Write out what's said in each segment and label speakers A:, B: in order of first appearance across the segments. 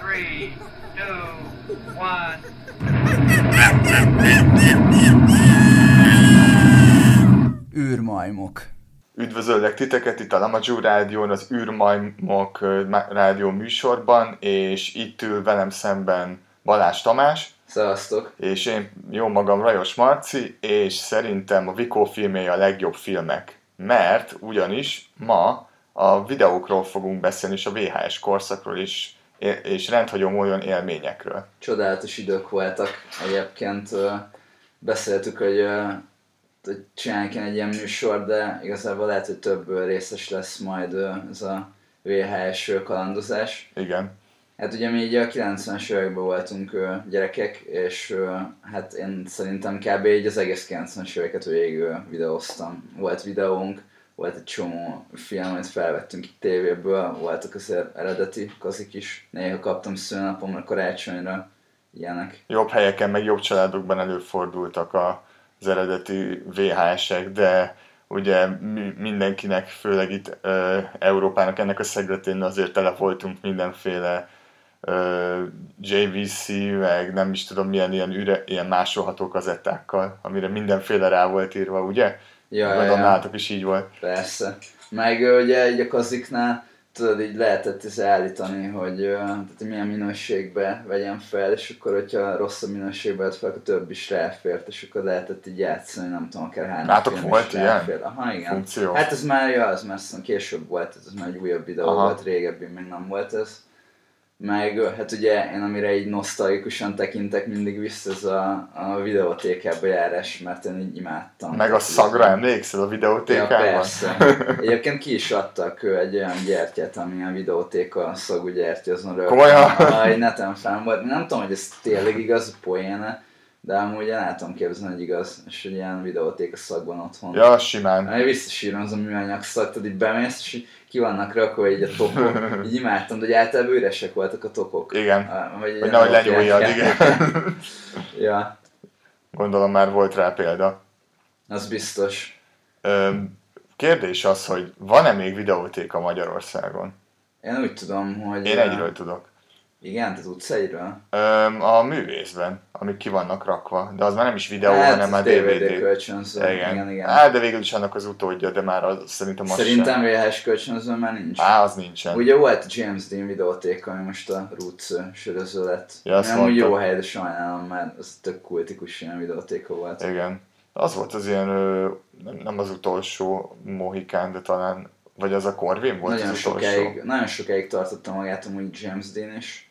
A: Three, two, one.
B: űrmajmok.
C: Üdvözöllek titeket itt a Lamadzsú Rádión, az űrmajmok ö, má- rádió műsorban, és itt ül velem szemben Balázs Tamás,
D: Szevasztok.
C: és én jó magam Rajos Marci, és szerintem a Vikó filmjei a legjobb filmek. Mert ugyanis ma a videókról fogunk beszélni, és a VHS korszakról is, é- és rendhagyó módon élményekről.
D: Csodálatos idők voltak egyébként. ö, Beszéltük, hogy, ö, hogy csinálják ilyen egy ilyen műsor, de igazából lehet, hogy több ö, részes lesz majd ö, ez a VHS kalandozás.
C: Igen.
D: Hát ugye mi így a 90-es években voltunk ö, gyerekek, és ö, hát én szerintem kb. így az egész 90-es éveket végig ö, videóztam. Volt videónk, volt egy csomó film, amit felvettünk itt tévéből, voltak azért eredeti kazik is. Néha kaptam szülnapomra, karácsonyra, ilyenek.
C: jobb helyeken, meg jobb családokban előfordultak a- az eredeti VHS-ek, de ugye mi- mindenkinek, főleg itt ö, Európának ennek a szegletén azért tele voltunk mindenféle ö, JVC, meg nem is tudom milyen ilyen, üre, ilyen másolható kazettákkal, amire mindenféle rá volt írva, ugye?
D: Ja,
C: Gondolom
D: ja, ja,
C: nálatok is így volt.
D: persze. Meg ö, ugye így a kaziknál, tudod, így lehetett ez állítani, hogy ö, tehát milyen minőségbe vegyem fel, és akkor, hogyha rosszabb minőségbe vett fel, akkor több is ráfért, és akkor lehetett így játszani, nem tudom, akár három
C: Nátok
D: film
C: volt
D: is
C: ilyen
D: ráfért. Aha, igen.
C: funkció?
D: Hát ez már, ja, az már szóval később volt, ez már egy újabb videó
C: Aha.
D: Aha. volt, régebbi még nem volt ez. Meg ö, hát ugye én amire így nosztalgikusan tekintek mindig vissza, ez a, a videótékába járás, mert én így imádtam.
C: Meg a
D: Tehát,
C: szagra emlékszel a
D: Ja,
C: videótékában?
D: persze. Egyébként ki is adtak ö, egy olyan gyertyát, ami a videótéka szagú gyertya, azon rögtön.
C: Komolyan?
D: Aj, neten fenn volt. Nem tudom, hogy ez tényleg igaz, poéne, de amúgy én el tudom képzelni, hogy igaz, és hogy ilyen videótéka szagban otthon.
C: Ja, simán.
D: Ami visszasírom az a műanyag szag, tudod, így bemész, és így ki vannak rakva így a topok. Így imádtam, de hogy általában üresek voltak a topok.
C: Igen.
D: Ah, Vagy,
C: Hogy nehogy lenyúljad, igen.
D: ja,
C: Gondolom már volt rá példa.
D: az biztos.
C: Öm, Kérdés az, hogy van-e még videótéka Magyarországon?
D: Én úgy tudom, hogy...
C: Én
D: ö,
C: egyről tudok.
D: Igen, te tudsz egyről?
C: Öm, A művészben, amik ki vannak rakva, de az már nem is videó,
D: hát,
C: hanem már DVD.
D: DVD kölcsönző. Igen, igen. igen.
C: Á, de végül is annak az utódja, de már az, szerintem az
D: Szerintem
C: Hát, sem. Hát,
D: VHS kölcsönző már nincs.
C: Á, az nincsen.
D: Ugye volt James Dean videóték, ami most a Roots ö, söröző lett.
C: Ja, azt
D: nem úgy jó
C: mondtad.
D: hely, de sajnálom, mert az tök kultikus ilyen videótéka volt.
C: Igen. Az volt az ilyen, ö, nem- nem az utolsó Mohikán, de talán, vagy az a Corvin volt
D: nagyon,
C: az utolsó.
D: sokáig, nagyon sokáig tartotta magát amúgy James Dean is.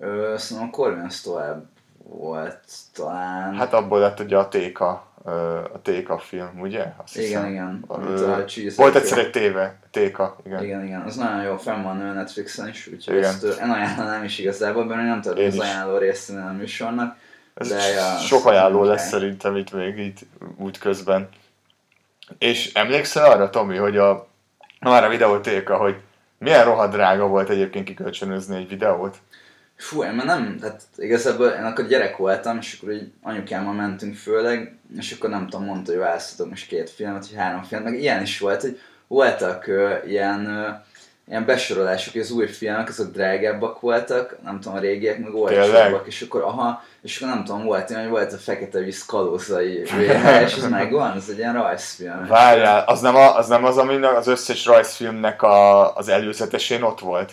D: Ö, szerintem a Corvin tovább volt talán.
C: Hát abból lett ugye a téka, ö, a téka film, ugye? Azt
D: igen, igen.
C: Ö,
D: amit a Cheese
C: Volt
D: Egg-
C: egyszer egy téve, téka, igen.
D: Igen, igen, az nagyon jó, fenn van a Netflixen is, úgyhogy
C: Igen.
D: ezt ö, én ajánlanám is igazából, mert én nem tudom
C: Én
D: az
C: is.
D: ajánló részt innen a műsornak.
C: Ez
D: De, ja,
C: sok ajánló
D: szerintem
C: lesz szerintem itt még itt útközben. És emlékszel arra, Tomi, hogy a, már a videótéka, hogy milyen rohadt drága volt egyébként kikölcsönözni egy videót?
D: Fú, én már nem, tehát igazából én akkor gyerek voltam, és akkor így anyukámmal mentünk főleg, és akkor nem tudom, mondta, hogy választhatok most két filmet, vagy három filmet, meg ilyen is volt, hogy voltak ö, ilyen, ö, ilyen besorolások, hogy az új filmek, azok drágábbak voltak, nem tudom, a régiek, meg olcsóbbak,
C: Tényleg?
D: és akkor aha, és akkor nem tudom, volt ilyen, hogy volt a Fekete Víz kalózai VHS, és ez megvan, ez egy ilyen rajzfilm.
C: Várjál, az nem, a, az nem az, ami az összes rajzfilmnek a, az előzetesén ott volt?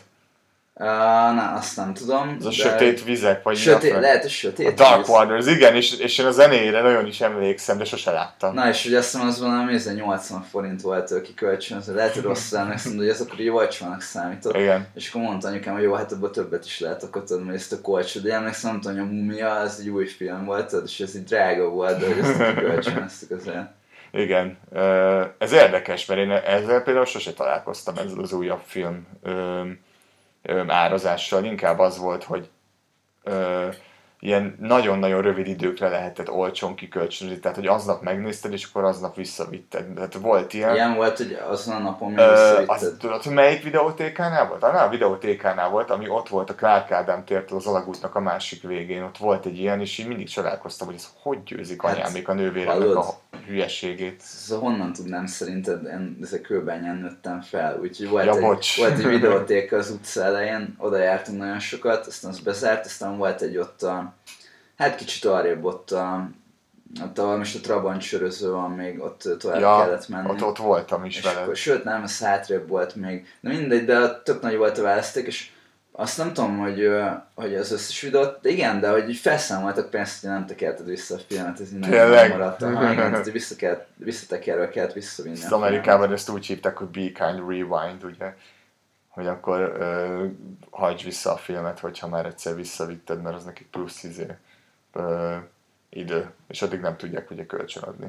D: Uh, na, azt nem tudom.
C: Az a
D: de-
C: sötét vizek, vagy mi a
D: Sötét,
C: fel-
D: lehet, hogy
C: a
D: sötét.
C: Dark
D: Víz.
C: Waters, igen, és, és én a zenéjére nagyon is emlékszem, de sose láttam.
D: Na és ugye azt hiszem az valami ez 80 forint volt ö, kikölcsönözve, lehet, hogy rossz elnek szóval, hogy ez akkor így olcsónak számított.
C: Igen.
D: És akkor mondta anyukám, hogy jó, hát ebből többet is lehet, akkor tudod, hogy ezt a kolcsot, de emlékszem, nem tudom, hogy a mumia, az egy új film volt, tudod, és ez így drága volt, de hogy ezt kikölcsönöztük azért.
C: Igen, ö, ez érdekes, mert én ezzel például sose találkoztam, ezzel az újabb film ö, ö, árazással. Inkább az volt, hogy ö, ilyen nagyon-nagyon rövid időkre lehetett olcsón kikölcsönözni, tehát hogy aznap megnézted, és akkor aznap visszavitted. Tehát volt ilyen.
D: Ilyen volt, hogy azon a napon még
C: Ö,
D: visszavitted.
C: az, tudod, hogy melyik videótékánál volt? Annál a videótékánál volt, ami ott volt a Clark Ádám tértől az alagútnak a másik végén. Ott volt egy ilyen, és én mindig csodálkoztam, hogy ez hogy győzik
D: Hát,
C: anyámék a nővéremnek
D: hallod?
C: a hülyeségét.
D: Szóval honnan tudnám szerinted, én ezek kőbányán nőttem fel, úgyhogy volt,
C: Ja,
D: egy,
C: bocs.
D: volt egy videótéka az utca elején, oda jártunk nagyon sokat, aztán az bezárt, aztán volt egy ott a, hát kicsit arrébb ott a, ott a, most a Trabant söröző van még, ott tovább
C: Ja,
D: kellett menni.
C: ott, ott voltam is
D: és
C: vele.
D: akkor, sőt nem, ez hátrébb volt még. Na mindegy, de ott tök nagy volt a választék, és azt nem tudom, hogy, ö, hogy az összes videót, de igen, de hogy így felszámoltak pénzt, hogy nem tekerted vissza a filmet, ez így nagyon
C: Tényleg?
D: maradt. Aha, igen, tehát így vissza kellett, visszatekerve kellett visszavinni.
C: Ezt
D: a filmet.
C: Amerikában ezt úgy hívták, hogy Be Kind Rewind, ugye? Hogy akkor ö, hagyj vissza a filmet, hogyha már egyszer visszavitted, mert az neki plusz izé, ö, idő. És addig nem tudják ugye kölcsönadni.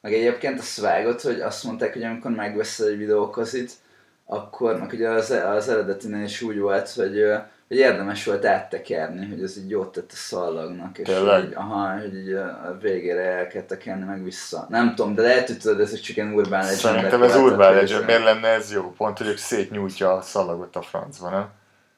D: Meg egyébként azt vágott, hogy azt mondták, hogy amikor megveszel egy videókozit, akkor meg ugye az, az eredetinél is úgy volt, hogy, ö, hogy érdemes volt áttekerni, hogy ez így jót tett a szallagnak, és
C: Tényleg?
D: hogy, aha, hogy így ö, a végére el kell tekerni meg vissza. Nem tudom, de lehet, hogy tudod, ez csak ilyen Urban Legend.
C: Szerintem ez Urban Legend, miért lenne ez jó? Pont, hogy ők szétnyújtja a szalagot a francba, nem?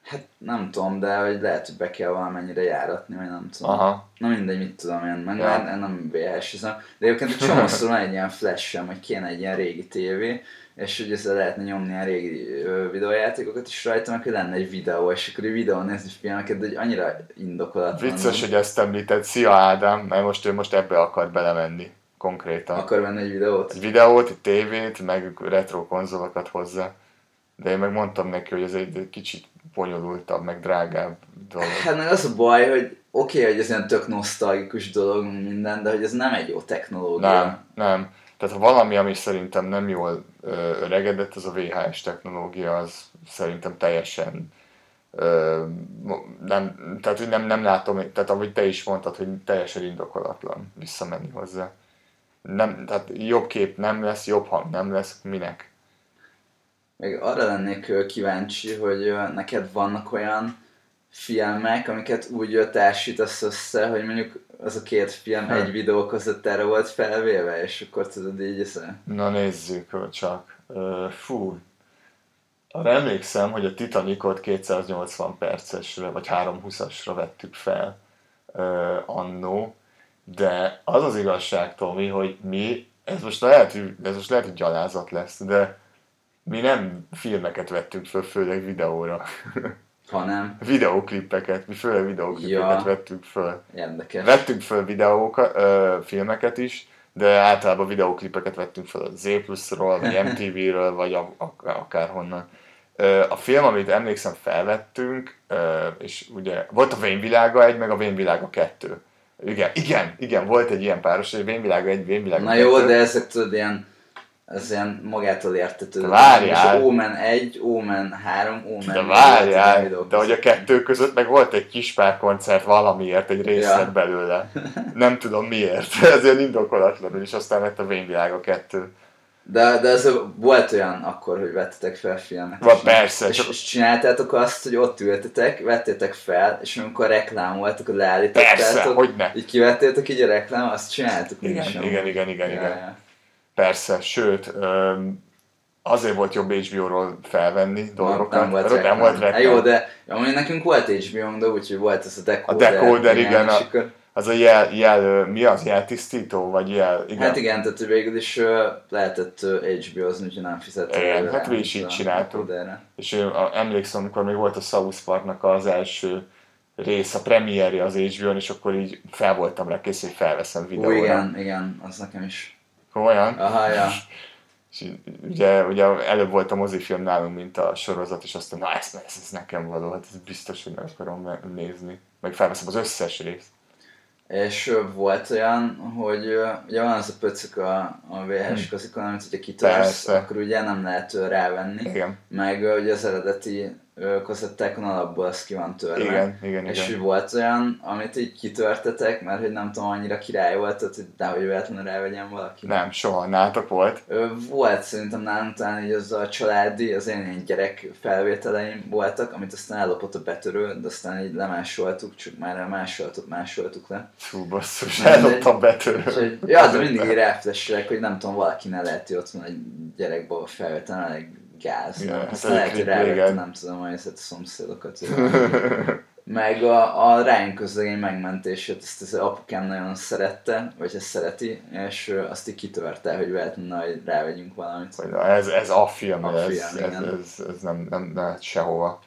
D: Hát nem tudom, de hogy lehet, hogy be kell valamennyire járatni, vagy nem tudom.
C: Aha.
D: Na mindegy, mit tudom én, meg
C: Ja.
D: már én nem vhs -ezem. De egyébként egy csomószor van egy ilyen flash hogy kéne egy ilyen régi tévé, és hogy ezzel lehetne nyomni a régi ö, videójátékokat is rajta, meg hogy lenne egy videó, és akkor egy videó nézni filmeket, de hogy annyira indokolatlan.
C: Vicces, hogy ezt említed. Szia Ádám, mert most ő most ebbe akar belemenni konkrétan.
D: Akar venni egy videót?
C: egy videót, egy tévét, meg retro konzolokat hozzá. De én meg mondtam neki, hogy ez egy egy kicsit bonyolultabb, meg drágább dolog.
D: Hát meg az a baj, hogy oké, okay, hogy ez ilyen tök nosztalgikus dolog meg minden, de hogy ez nem egy jó technológia.
C: Nem, nem. Tehát ha valami, ami szerintem nem jól ö, öregedett, az a VHS technológia, az szerintem teljesen ö, mo- nem, tehát hogy nem, nem látom, tehát ahogy te is mondtad, hogy teljesen indokolatlan visszamenni hozzá. Nem, tehát jobb kép nem lesz, jobb hang nem lesz, minek?
D: Meg arra lennék ö, kíváncsi, hogy ö, neked vannak olyan filmek, amiket úgy ö, társítasz össze, hogy mondjuk az a két film
C: Hm.
D: egy videó között erre volt felvéve, és akkor tudod így össze.
C: Na nézzük csak. Ö, Fú. Arra emlékszem, hogy a Titanicot 280 percesre vagy 320-asra vettük fel ö, annó, de az az igazság, Tomi, hogy mi, ez most lehet, hogy- ez most lehet, hogy gyalázat lesz, de mi nem filmeket vettünk föl, főleg videóra.
D: Hanem
C: Videóklippeket, mi főleg videóklippeket
D: Ja.
C: vettünk föl.
D: érdekes.
C: Vettünk föl videókat, ö, filmeket is, de általában videóklipeket vettünk föl a Z pluszról, vagy MTV-ről, vagy a, a, akárhonnan. Ö, a film, amit emlékszem felvettünk, ö, és ugye volt a Vényvilága egy, meg a Vényvilága kettő. Igen, igen, igen, volt egy ilyen páros, hogy Vényvilága egy, Vényvilága
D: Na jó,
C: kettő.
D: de ezek tudod ilyen, ez ilyen magától értetődő.
C: Várjál!
D: És Omen 1, Omen 3, Omen
C: De
D: 4, ilyen
C: várjál,
D: videók
C: de hogy a
D: között.
C: kettő között meg volt egy kis pár koncert valamiért, egy részlet
D: Ja.
C: belőle. Nem tudom miért, ez ilyen indokolatlanul, és aztán lett a Vényvilága kettő.
D: De, de ez a- volt olyan akkor, hogy vettetek fel filmet.
C: Va,
D: és-
C: persze,
D: És,
C: csak-
D: és csináltátok azt, hogy ott ültetek, vettétek fel, és amikor reklám volt, akkor
C: Persze,
D: leállítottátok.
C: hogy ne.
D: Így kivettétek így a reklám, azt csináltuk mi
C: Igen,
D: is amúgy.
C: igen, igen, igen,
D: Ja,
C: igen.
D: ja.
C: Persze, sőt, öm, azért volt jobb HBO-ról felvenni dolgokat,
D: Nem volt
C: mert
D: reklám.
C: nem volt reklám.
D: Hát Jó, de amúgy nekünk volt hbo de úgyhogy volt ez a decoder.
C: decoder, igen,
D: és
C: a-
D: akkor,
C: Az a jel, jel, ö, mi az, jeltisztító, vagy jel, igen.
D: Hát igen, tehát végül is ö, lehetett HBO-zni, úgyhogy nem fizettél.
C: Igen,
D: rá,
C: hát mi is
D: mint
C: így
D: a
C: csináltuk.
D: decoderre.
C: És ö, a, emlékszem, amikor még volt a South Parknak az első rész, a premierje az HBO-n, és akkor így fel voltam rá kész, hogy felveszem
D: Ó,
C: videóra.
D: igen, igen, az nekem is.
C: Komolyan?
D: Aha, ja.
C: És így, ugye, ugye előbb volt a mozifilm nálunk, mint a sorozat, és azt mondtam, na ez, ez, ez nekem való, hát ez biztos, hogy meg akarom me- nézni. Meg felveszem az összes részt.
D: És ö, volt olyan, hogy ö, ugye van az a pöcök a, a VHS közikon, amit hogyha kitörsz,
C: Hm. Persze.
D: akkor ugye nem lehet ö, rávenni,
C: Igen.
D: meg ö, ugye az eredeti ö, kazettákon alapból az ki van törve.
C: Igen, igen,
D: És
C: igen.
D: hogy volt olyan, amit így kitörtetek, mert hogy nem tudom, annyira király volt, tehát hogy nehogy véletlenül rávegyen valaki.
C: Nem, soha nálatok volt.
D: Ö, Volt szerintem nálam talán így az a családi, az én ilyen gyerek felvételeim voltak, amit aztán ellopott a betörő, de aztán így lemásoltuk, csak már másoltuk, másoltuk le.
C: Fú, basszus,
D: Nem, de-
C: elloptam betörő.
D: Úgyhogy, ja, de mindig így ráflesselek, hogy nem tudom, valaki ne lehet, hogy ott van egy gyerekbe a felvétel, elég gáz.
C: Igen,
D: Yeah,
C: hát
D: Aztán
C: elég
D: lehet, hogy
C: creepy,
D: rávette,
C: igen.
D: nem tudom, hogy ezt a szomszédokat. hogy Meg a, a Ryan közlegény megmentését, ezt az apukám nagyon szerette, vagy ezt szereti, és ö, azt így kitörte, hogy lehetne, hogy rávegyünk valamit.
C: Vagy ez, ez a film,
D: A
C: ez,
D: film,
C: ez,
D: igen.
C: ez, ez, nem, nem, nem lehet sehova.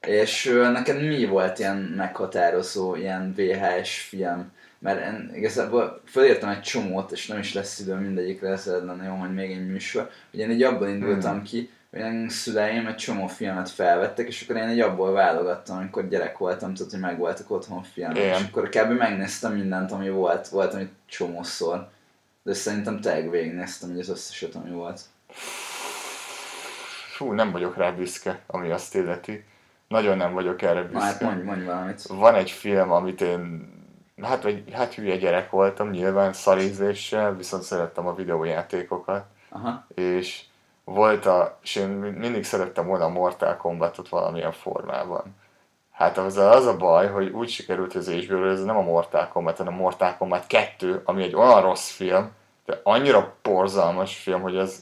D: És ö, neked mi volt ilyen meghatározó, ilyen VHS film? Mert én igazából fölírtam egy csomót, és nem is lesz idő mindegyikre, ez lenne jó, hogy még egy műsor. Ugye én így abból indultam ki, hogy én szüleim egy csomó filmet felvettek, és akkor én egy abból válogattam, amikor gyerek voltam, tudod, hogy megvoltak otthon filmek.
C: Igen.
D: És akkor kb. megnéztem mindent, ami volt, volt, ami csomószor. De szerintem tényleg végignéztem így az összeset, ami volt.
C: Fú, nem vagyok rá büszke, ami azt illeti. Nagyon nem vagyok erre
D: Na hát
C: büszke.
D: mondj, mondj valamit.
C: Van egy film, amit én hát, vagy, hát hülye gyerek voltam nyilván szarízéssel, viszont szerettem a videójátékokat.
D: Aha.
C: és volt a, és én mindig szerettem volna a Mortal Kombatot valamilyen formában. Hát az a, az a baj, hogy úgy sikerült az HBO, hogy ez nem a Mortal Kombat, hanem a Mortal Kombat 2, ami egy olyan rossz film, de annyira borzalmas film, hogy az,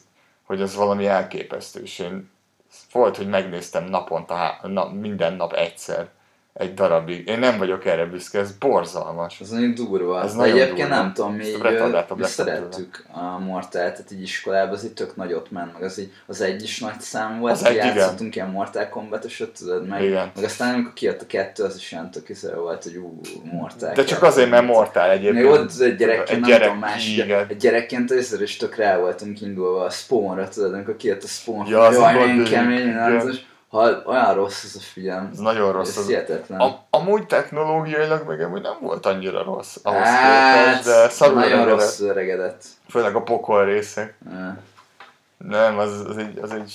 C: hogy az valami elképesztő. És én volt, hogy megnéztem naponta, há- na, minden nap egyszer egy darabig. Én nem vagyok erre büszke, ez borzalmas.
D: Ez nagyon durva.
C: Ez
D: Ez
C: nagyon
D: nagyon egyébként
C: durva.
D: nem tudom, mi,
C: Ezt
D: így,
C: a retardáltabb
D: ö, mi
C: lettem
D: szerettük a Mortal, tehát így iskolában az így tök nagyot ment, meg az, így, az egy is nagy szám volt,
C: Az
D: hogy
C: egy, igen.
D: játszottunk ilyen Mortal Kombat, és ott tudod meg,
C: Igen.
D: meg aztán amikor kijött a kettő, az is ilyen tök izé volt, hogy ú, Mortal.
C: De csak azért, mert Mortal
D: Még
C: egyébként.
D: ott tudod, egy gyerekként, nem tudom, más
C: igen.
D: egy gyerekként ezzel is tök rá voltunk indulva a spawnra, tudod, amikor kijött a spawn,
C: Ja, az
D: jaj,
C: a
D: milyen
C: gond,
D: kemény,
C: igen.
D: nem, és ha olyan rossz ez a film,
C: Ez nagyon rossz.
D: ez
C: Az,
D: hihetetlen.
C: A, amúgy technológiailag meg amúgy nem volt annyira rossz ahhoz
D: Hát,
C: képest, de szarul
D: nagyon
C: öregedett.
D: rossz öregedett.
C: Főleg a pokol részek.
D: Ö.
C: Nem, az, az, egy, az egy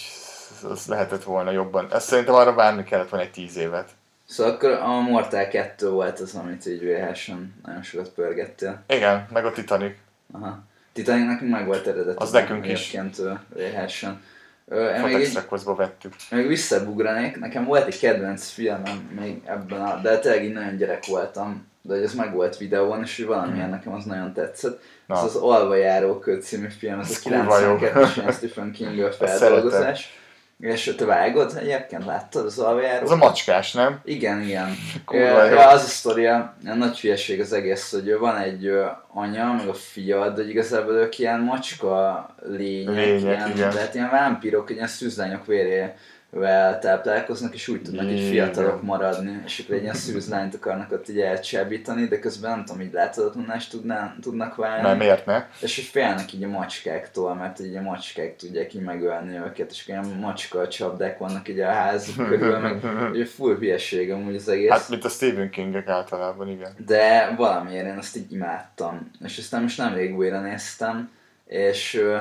C: az lehetett volna jobban. Ezt szerintem arra várni kellett volna egy tíz évet.
D: Szóval akkor a Mortal 2 volt az, amit így VHS-en nagyon sokat pörgettél.
C: Igen, meg a Titanic.
D: Aha. Titanic nekünk meg volt eredetileg.
C: Az nekünk is.
D: egyébként, ö, VHS-en. Ö, Én még,
C: Fatex
D: így,
C: Recordsba vettük.
D: még visszabugranék, nekem volt egy kedvenc filmem még ebben a... De tényleg így nagyon gyerek voltam, de hogy ez meg volt videón, és hogy valamilyen nekem az nagyon tetszett.
C: Mm. Na.
D: Na. Ez az Alvajáró Köd című film, ez,
C: Ez
D: a
C: kurva jó.
D: 92-es ilyen Stephen King feldolgozás. És te vágod egyébként? Láttad az Alvajáró?
C: Az a macskás, nem?
D: Igen, igen.
C: Kurva
D: Ja,
C: jó.
D: ja, az a sztoria, ilyen nagy hülyeség az egész, hogy van egy ö, anya, meg a fia, de hogy igazából ők ilyen macska lények,
C: Lények,
D: ilyen,
C: igen.
D: tehát ilyen vámpírok, hogy ilyen szűzlányok vérével táplálkoznak, és úgy tudnak így
C: Igen.
D: fiatalok maradni, és akkor egy ilyen szűzlányt akarnak ott így elcsábítani, de közben nem tudom, így láthatatlanást tudná- tudnak válni.
C: Mert miért ne?
D: És hogy félnek így a macskáktól, mert így a macskák tudják így megölni őket, és akkor ilyen macska csapdák vannak így a házuk körül, meg ugye full hülyeség amúgy az egész.
C: Hát, mint a Stephen Kingek általában, igen.
D: De valamiért én azt így imádtam. És aztán most nemrég újra néztem, és ö,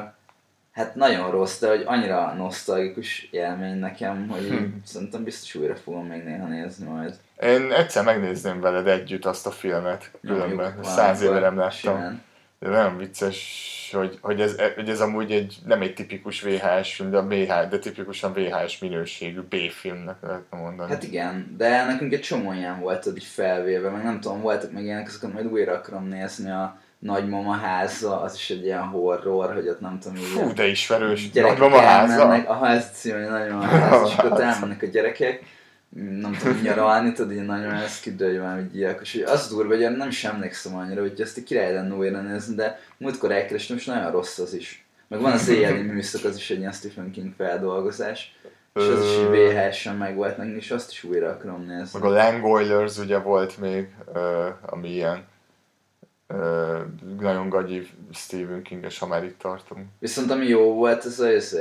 D: hát nagyon rossz, de hogy annyira nosztalgikus élmény nekem, hogy
C: Hm.
D: így szerintem biztos újra fogom még néha nézni majd.
C: Én egyszer megnézném veled együtt azt a filmet, különben.
D: Nyomjuk
C: Száz éve nem
D: valamikor,
C: láttam.
D: simán.
C: De nagyon vicces, hogy, hogy, ez, hogy ez amúgy egy, nem egy tipikus VHS film, de, a VH, de tipikusan VHS minőségű B-filmnek lehetne mondani.
D: Hát igen, de nekünk egy csomó ilyen volt ott így felvéve, meg nem tudom, voltak meg ilyenek, azokat majd újra akarom nézni a nagymama háza, az is egy ilyen horror, hogy ott nem tudom, így
C: Fú, de ismerős.
D: gyerekek
C: Nagymama háza.
D: elmennek, aha, ez cím, hogy nagyon ház, és akkor elmennek a gyerekek, Mm, nem tudom, nyaralni, tudod, így nagyon ez kidőlj már, hogy gyilkos. Hogy az durva, hogy nem is emlékszem annyira, hogy ezt a király lenne újra nézni, de múltkor elkerestem, és nagyon rossz az is. Meg van az éjjeli műszak, az is egy ilyen Stephen King feldolgozás, és az is így VHS-en meg volt nekünk, és azt is újra akarom nézni.
C: Meg a Langoilers ugye volt még, ö, ami ilyen ö, nagyon gagyi Stephen King-es, ha már itt tartunk.
D: Viszont ami jó volt, ez a, ez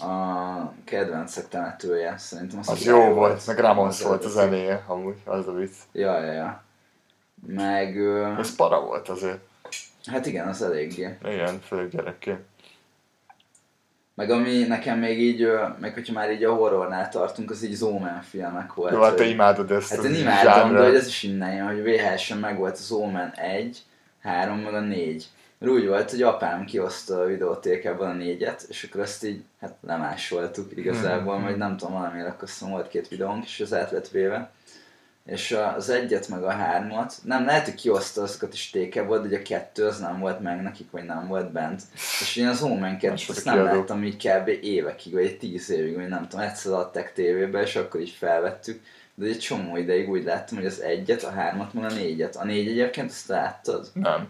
D: a, a kedvencek temetője, szerintem.
C: Az
D: király
C: jó volt, meg Ramonsz volt a
D: eredeti.
C: zenéje, amúgy, az a vicc.
D: Ja, ja, ja. Meg, ö,
C: Ez para volt azért.
D: hát igen, az eléggé.
C: Igen, főleg gyerekként.
D: Meg ami nekem még így, ö, meg hogyha már így a horrornál tartunk, az így az Omen filmek volt.
C: Jó, hát te
D: hogy-
C: imádod ezt
D: hát
C: a
D: én imádom, de
C: zsánrát.
D: hogy ez is innen jön, hogy VHS-en meg volt az Omen 1, 3, meg a 4. Mert úgy volt, hogy apám kioszta a videótékában a négyet, és akkor azt így, hát
C: Hmm,
D: lemásoltuk igazából, majd nem tudom, valamiért akkor azt hiszem volt két videónk, és az át lett véve. és az egyet meg a hármat, nem lehet, hogy kioszta azokat is téke volt, de a kettő az nem volt meg nekik, vagy nem volt bent. És én az Omen 2
C: Mások
D: azt
C: a
D: nem
C: kiadók.
D: láttam így kb. évekig, vagy egy tíz évig, vagy nem tudom, egyszer adták tévébe, és akkor így felvettük. De egy csomó ideig úgy láttam, hogy az egyet, a hármat, meg a négyet. A négy egyébként azt láttad?
C: Nem.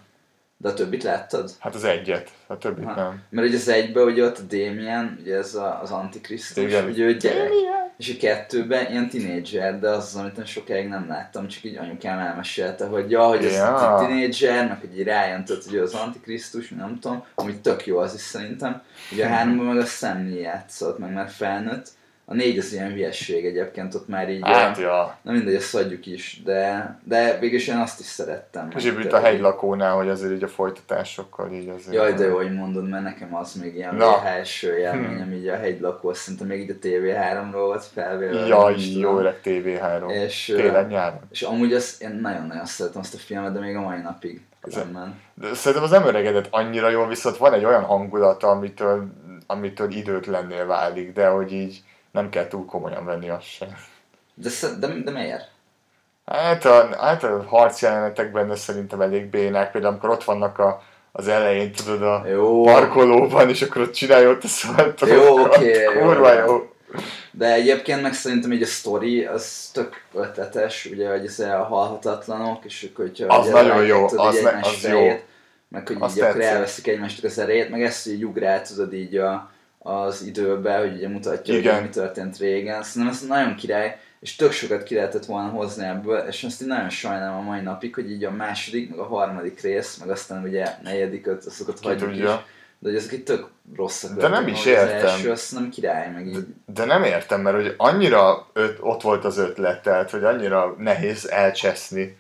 D: De a többit láttad?
C: Hát az egyet, a többit
D: Aha.
C: nem.
D: Mert ugye az egybe ugye ott a Damien, ugye ez a, az antikrisztus,
C: Igen.
D: ugye ő gyerek. És a kettőben ilyen tinédzser, de az az, amit én sokáig nem láttam, csak így anyukám elmesélte, hogy ja, hogy ez
C: Ja.
D: a tinédzser, meg hogy így rájön, tudod, hogy ő az antikrisztus, nem tudom, ami tök jó az is szerintem. Ugye a háromban meg a Sammy játszott, meg már felnőtt. A négy az ilyen hülyesség egyébként, ott már így...
C: Hát,
D: a-
C: ja.
D: Na mindegy, ezt hagyjuk is, de, de végülis én azt is szerettem.
C: És itt a
D: Például.
C: hegylakónál, hogy azért így a folytatásokkal így azért...
D: Jaj, de jó, hogy mondod, mert nekem az még ilyen
C: Na. Hm.
D: VHS élményem, így a hegylakó, azt szerintem még így a TV3-ról volt felvéve. nem is
C: Jaj,
D: tudom.
C: jó öreg TV3.
D: És, ö,
C: Télen nyáron.
D: és amúgy azt, én nagyon-nagyon szeretem azt a filmet, de még a mai napig különben.
C: De szerintem az nem öregedett annyira jól, viszont van egy olyan hangulata, amitől, amitől időtlennél válik, de hogy így nem kell túl komolyan venni azt sem.
D: De, sze- de, de miért?
C: Hát a, hát a harc jelenetek benne szerintem elég bénák, például amikor ott vannak a, az elején, tudod, a
D: Jó.
C: parkolóban, és akkor ott csinálja ott a szartokat.
D: Jó, oké, jó.
C: Kurva jó.
D: De egyébként meg szerintem így a sztori, az tök ötletes, ugye, hogy ez a halhatatlanok, és akkor hogyha...
C: Az
D: ugye
C: nagyon jó,
D: rájötted,
C: az
D: ugye,
C: ne-
D: egymás
C: az jó.
D: fejét, Meg hogy
C: Azt
D: így akkor
C: tetszett.
D: elveszik egymást az erejét, meg ezt, hogy így ugrál, tudod így a, az időbe, hogy ugye mutatja,
C: Igen.
D: hogy mi történt régen. Szerintem ez nagyon király, és tök sokat ki lehetett volna hozni ebből, és azt én nagyon sajnálom a mai napig, hogy így a második, meg a harmadik rész, meg aztán ugye negyedik, öt, azokat
C: Ki
D: hagyjuk is.
C: tudja.
D: De hogy ezek itt tök rosszak.
C: De nem
D: voltak,
C: is
D: ahogy az
C: értem.
D: első, azt nem király, meg így.
C: De nem értem, mert hogy annyira öt, ott volt az ötlet, tehát hogy annyira nehéz elcseszni.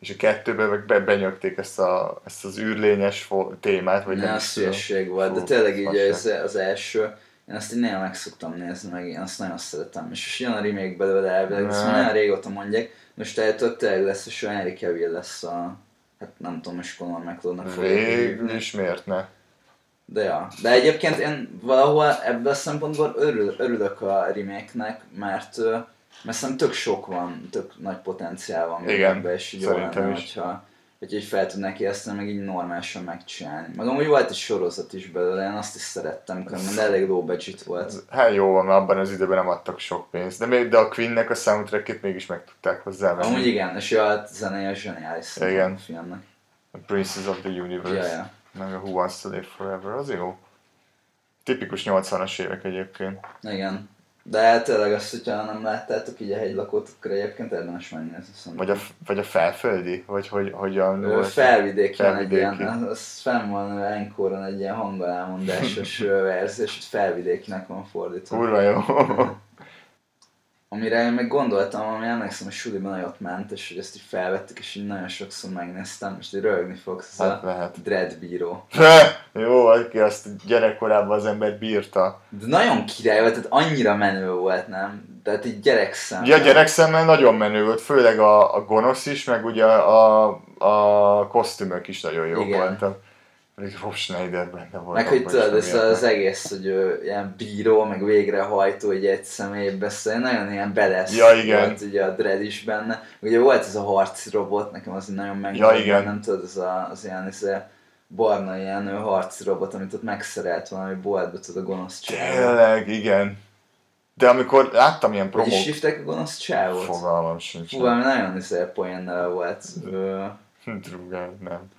C: És a kettőben meg be, benyögték ezt, a, ezt az űrlényes fo- témát, vagy
D: Ne,
C: nem
D: az
C: is tudom.
D: hülyeség volt, de
C: Fú,
D: tényleg így
C: fasság.
D: az, az első, én azt így néha meg szoktam nézni, meg én azt nagyon szeretem. És most jön a remake belőle elvileg, ezt már
C: Ne.
D: nagyon régóta mondják, most eltől tényleg lesz, és olyan Henry Cavill lesz a... Hát nem tudom, most Conor McLeodnak
C: Végül is miért ne?
D: De ja. De egyébként én valahol ebből a szempontból örül, örülök a remake-nek, mert, ö, mert szerintem tök sok van, tök nagy potenciál van még
C: Igen,
D: ebben, és így jó
C: szerintem
D: lenne,
C: is.
D: hogyha hogy így fel tudnák érteni, meg így normálisan megcsinálni. Meg amúgy volt egy sorozat is belőle, én azt is szerettem, különben, de elég low budget volt.
C: Hát jó van, mert abban az időben nem adtak sok pénzt. De, még, de a Queennek a soundtrackét mégis meg tudták hozzá
D: Amúgy igen, és ja, a zenéje zseniális szerintem
C: Igen.
D: a filmnek.
C: A Princess of the Universe.
D: Ja, ja.
C: Meg a Who Wants to Live Forever, az jó. Tipikus 80-as évek egyébként.
D: Igen. De hát tényleg azt, hogyha nem láttátok így a hegylakót, akkor egyébként érdemes megnézni. szerintem.
C: Vagy a, vagy a felföldi? Vagy hogy, hogyan
D: Ö,
C: volt?
D: Felvidéki van egy
C: Felvidéki.
D: ilyen, az- az fenn van Enkoron egy ilyen hangolámondásos ö, verzió, és ott felvidékinek van fordítva.
C: Kurva jó.
D: Amire én meg gondoltam, ami emlékszem, hogy suliban nagyot ment, és hogy ezt így felvettük, és így nagyon sokszor megnéztem, és így röhögni fogsz, ez
C: Hát
D: a
C: lehet.
D: Dread Bíró.
C: Jó, aki azt gyerekkorában az ember bírta.
D: De nagyon király volt, tehát annyira menő volt, nem? Tehát így gyerekszem.
C: Ja, gyerekszemmel nagyon menő volt, főleg a, a gonosz is, meg ugye a, a kosztümök is nagyon jó
D: Igen.
C: voltak. Még Rob Schneider benne volt.
D: Meg hogy
C: abban is,
D: tudod, ez
C: amiatt
D: az
C: nem.
D: egész, hogy ő ilyen bíró, meg végrehajtó, hogy egy személybe beszél, nagyon ilyen bedesz
C: Ja, igen.
D: volt ugye a Dread is benne. Ugye volt ez a harci robot, nekem az nagyon meg
C: Ja, igen.
D: nem tudod, az, a, az ilyen ez a barna ilyen ő harci robot, amit ott megszerelt valami boltba, tudod a gonosz csávó.
C: Tényleg, igen. De amikor láttam ilyen
D: Hogy is
C: promót,
D: hívták a gonosz csávót?
C: fogalmam sincs.
D: Fú, ami nagyon izé poénnal volt. Ö,
C: Drugán, nem.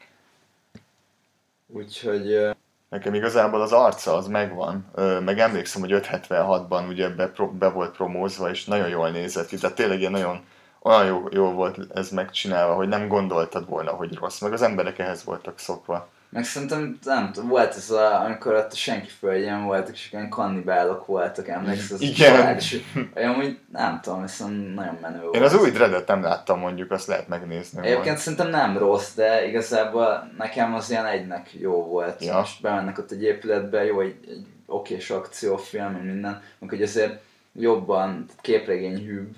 D: Úgyhogy... ö,
C: Nekem igazából az arca az megvan, Ö, meg emlékszem, hogy 576-ban ugye be, pro- be volt promózva, és nagyon jól nézett ki, tehát tényleg ilyen nagyon olyan jó, jó volt ez megcsinálva, hogy nem gondoltad volna, hogy rossz, meg az emberek ehhez voltak szokva.
D: Meg szerintem, nem tudom, volt ez a, amikor ott a senki földjén voltak, és ilyen kannibálok voltak, emlékszel? az a
C: Igen.
D: család, és Én amúgy nem tudom, hiszem nagyon menő volt.
C: Én az új dreadet nem láttam mondjuk, azt lehet megnézni. majd.
D: Egyébként szerintem nem rossz, de igazából nekem az ilyen egynek jó volt.
C: Ja.
D: Most bemennek ott egy épületbe, jó, egy, egy okés akciófilm, meg minden, meg hogy azért jobban képregény hűbb,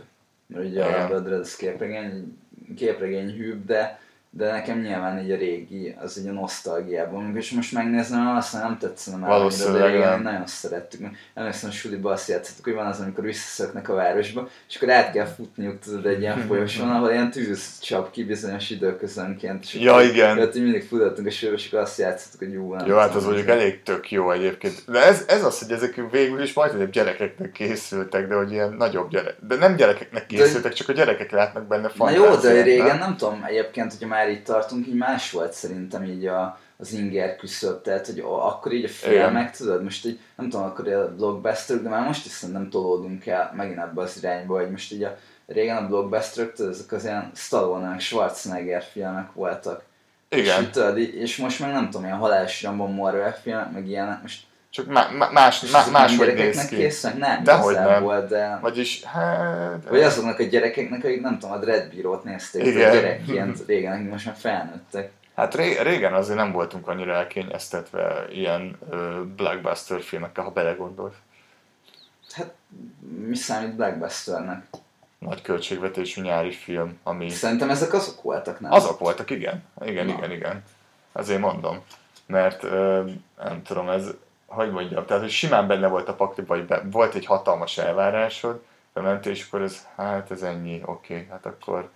D: mert ugye
C: Igen.
D: a Blood Red az képregény, képregény hűbb, de de nekem nyilván így a régi, az így a nosztalgiában, amikor is most megnézem, aztán nem tetszene már
C: Valószínűleg
D: annyira, de régen
C: nem.
D: én nagyon szerettük. Emlékszem, a suliba azt játszottuk, hogy van az, amikor visszaszöknek a városba, és akkor át kell futniuk, tudod, egy ilyen folyosón, ahol ilyen tűz csap ki bizonyos időközönként. És
C: Ja,
D: akkor-
C: igen.
D: Tehát így mindig futottunk a sörbe, és akkor azt játszottuk, hogy jó, nem
C: Jó, hát
D: tudom,
C: az mondjuk
D: hogy-
C: elég tök jó egyébként. De ez, ez az, hogy ezek végül is majdnem gyerekeknek készültek, de hogy ilyen nagyobb gyerek. De nem gyerekeknek készültek, csak a gyerekek látnak benne
D: Na
C: fantáziát.
D: jó, de régen nem?
C: nem?
D: tudom, egyébként, hogyha már itt tartunk, így más volt szerintem így a, az inger küszöb, tehát hogy a- akkor így a filmek, tudod, most így, nem tudom, akkor a blockbuster, de már most is szerintem tolódunk el megint ebbe az irányba, hogy most így a régen a blockbusterök, tudod, ezek az ilyen Stallone-nek, Schwarzenegger filmek voltak. És, így,
C: Igen,
D: tudod, így- és most meg nem tudom, ilyen halálos Rambo Marvel filmek, meg ilyenek, most
C: csak má, má, más,
D: és
C: má,
D: ezek nem
C: máshogy néz
D: gyerekeknek
C: ki.
D: készülnek? Nem,
C: Dehogy
D: igazából, de...
C: Vagyis, hát...
D: Vagy azoknak a gyerekeknek, akik nem tudom, a Dreadbírót nézték,
C: Igen.
D: Igen. gyerekként régen, akik most már felnőttek.
C: Hát ré- régen azért nem voltunk annyira elkényeztetve ilyen ö, blockbuster filmekkel, ha belegondolsz.
D: Hát mi számít Blackbusternek?
C: Nagy költségvetésű nyári film, ami...
D: Szerintem ezek azok voltak, nem?
C: Azok voltak, igen. Igen,
D: Na.
C: igen, igen. Azért mondom. Mert ö, nem tudom, ez, hogy mondjam, tehát hogy simán benne volt a pakliba, hogy be, volt egy hatalmas elvárásod, bementél, és akkor ez, hát ez ennyi, oké, hát akkor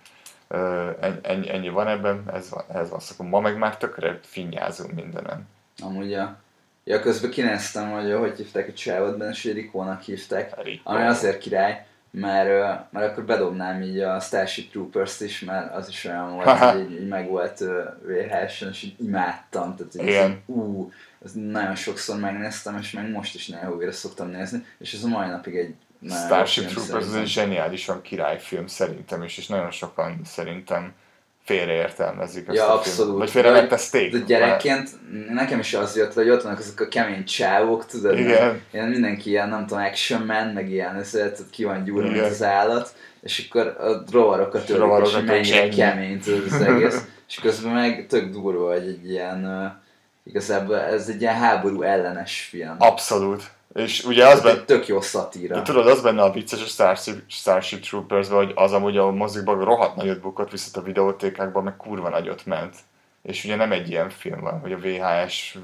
C: ö, en, ennyi, ennyi van ebben, ez van, ez van, szóval ma meg már tökre finnyázunk mindenem.
D: Amúgy a... Ja, közben kinéztem, hogy hogy hívták a csávot benne, és hogy Rikónak hívták.
C: Rico.
D: Ami azért király, mert, ö, mert akkor bedobnám így a Starship Troopers-t is, mert az is olyan volt,
C: Haha.
D: hogy így, így meg volt ö, VHS-en, és így imádtam. Tehát, hogy
C: Igen.
D: ez, ú, ez nagyon sokszor megnéztem, és meg most is néha újra szoktam nézni, és ez a mai napig egy nagyon jó
C: Starship
D: film
C: Troopers az
D: szerintem.
C: egy zseniálisan királyfilm szerintem is, és nagyon sokan szerintem félreértelmezik ezt
D: Ja,
C: a
D: abszolút.
C: filmet. Vagy félrementették.
D: De gyerekként nekem is az jött, hogy ott vannak azok a kemény csávok, tudod?
C: Igen.
D: Ilyen mindenki ilyen, nem tudom, action man, meg ilyen, ez, tudod, ki van gyúrva, mint
C: Igen.
D: az állat, és akkor a rovarokat
C: A
D: ölik, és
C: rovarokat
D: hogy mennyire
C: ennyi.
D: kemény, tudod, az egész. És közben meg tök durva, hogy egy ilyen, ö, igazából ez egy ilyen háború ellenes film.
C: Abszolút. És ugye az
D: Tehát
C: benne,
D: egy tök jó szatíra.
C: de tudod, az benne a vicces a Starship, Starship troopers hogy az amúgy a mozikban rohadt nagyot bukott, viszont a videótékákban meg kurva nagyot ment. És ugye nem egy ilyen film van, hogy a VHS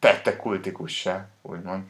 C: tette kultikussá, úgymond.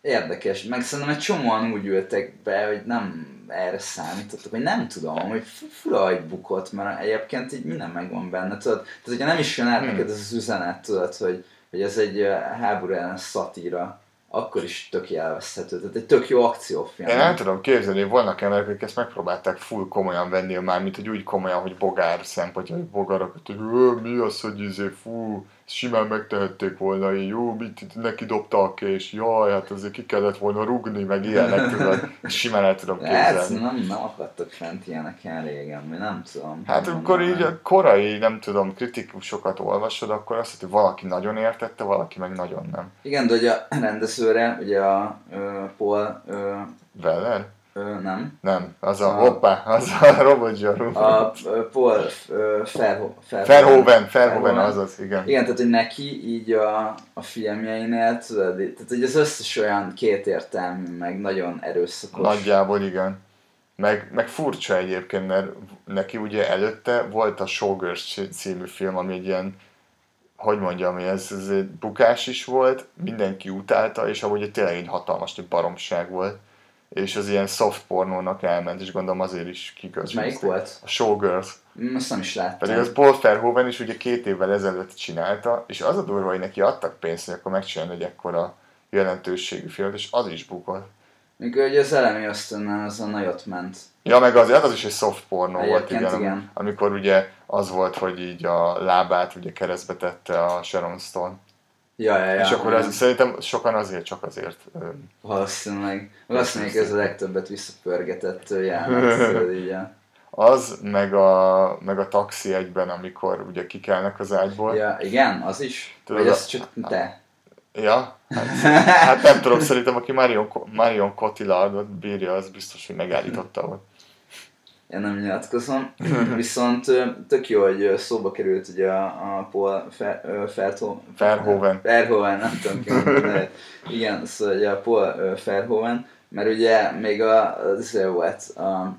D: Érdekes, meg szerintem egy csomóan úgy ültek be, hogy nem erre számítottak, vagy nem tudom, hogy fu- fura egy bukott, mert egyébként így minden megvan benne, tudod? Tehát hogyha nem is jön át
C: Hmm.
D: neked ez az üzenet, tudod, hogy, hogy ez egy ö, háború ellen szatíra, akkor is tök élvezhető. Tehát egy tök jó akciófilm.
C: Én nem tudom képzelni, hogy vannak emberek, akik ezt megpróbálták full komolyan venni, már mint hogy úgy komolyan, hogy bogár szempontja, hogy bogarak, hogy "Ö, mi az, hogy izé, fú, ezt simán megtehették volna, így, jó, mit itt neki dobta a kés, jaj, hát azért ki kellett volna rugni, meg ilyenek, tudod, simán el tudom
D: Hát,
C: képzelni.
D: nem, nem akadtak fent ilyeneken régen, vagy nem tudom.
C: Hát
D: Nem
C: amikor
D: tudom.
C: így a korai, nem tudom, kritikusokat olvasod, akkor azt hiszem, hogy valaki nagyon értette, valaki meg nagyon nem.
D: Igen, de hogy a rendezőre, ugye a ö, Paul, ö,
C: Veller?
D: ö, nem,
C: Nem, az a,
D: A-
C: hoppá, az a robotzsarú.
D: A ö, Paul ö, Verho- Verhoeven.
C: Verhoeven, Verhoeven, azaz, igen.
D: Igen, tehát hogy neki így a, a filmjeinél, tudod, így- tehát hogy az összes olyan kétértelmű, meg nagyon erőszakos.
C: Nagyjából igen. Meg, meg furcsa egyébként, mert neki ugye előtte volt a Showgirls című film, ami egy ilyen, hogy mondjam, ez, ez egy bukás is volt, mindenki utálta, és amúgy egy tényleg egy hatalmas egy baromság volt. És az ilyen soft pornónak elment, és gondolom azért is
D: És
C: kikölcsönözték.
D: melyik volt?
C: A Showgirls.
D: Mm, Azt nem is
C: Pedig
D: láttam.
C: az Paul Verhoeven is ugye két évvel ezelőtt csinálta, és az a durva, hogy neki adtak pénzt, hogy akkor megcsinálni egy ekkora jelentőségű filmet, és az is bukott.
D: Mikor ugye az elemi ösztönnel az a nagyot ment.
C: Ja, meg az, az is egy soft pornó volt,
D: Egyébként
C: igen,
D: igen.
C: Amikor ugye az volt, hogy így a lábát ugye keresztbe tette a Sharon Stone.
D: Ja, ja, ja.
C: és akkor az,
D: igen.
C: szerintem sokan azért, csak azért. ö,
D: Valószínűleg. Meg azt mondjuk, ez a legtöbbet visszapörgetett ö, jelenet, tudod, így a...
C: Az, meg a, meg a taxi egyben, amikor ugye kikelnek az ágyból.
D: Ja, igen, az is?
C: Tudod,
D: Vagy
C: a-
D: az csak te?
C: Ja? Hát, hát, nem tudom, szerintem aki Marion, Ko- Marion Cotillard bírja, az biztos, hogy megállította ott.
D: Én nem nyilatkozom, viszont ö, tök jó, hogy ö, szóba került ugye a, a Paul Fer, ö, Fertho-
C: Verhoeven.
D: Verhoeven, nem tudom ki mondani, de igen, szóval ugye a Paul ö, Verhoeven, mert ugye még a, az ő volt, a,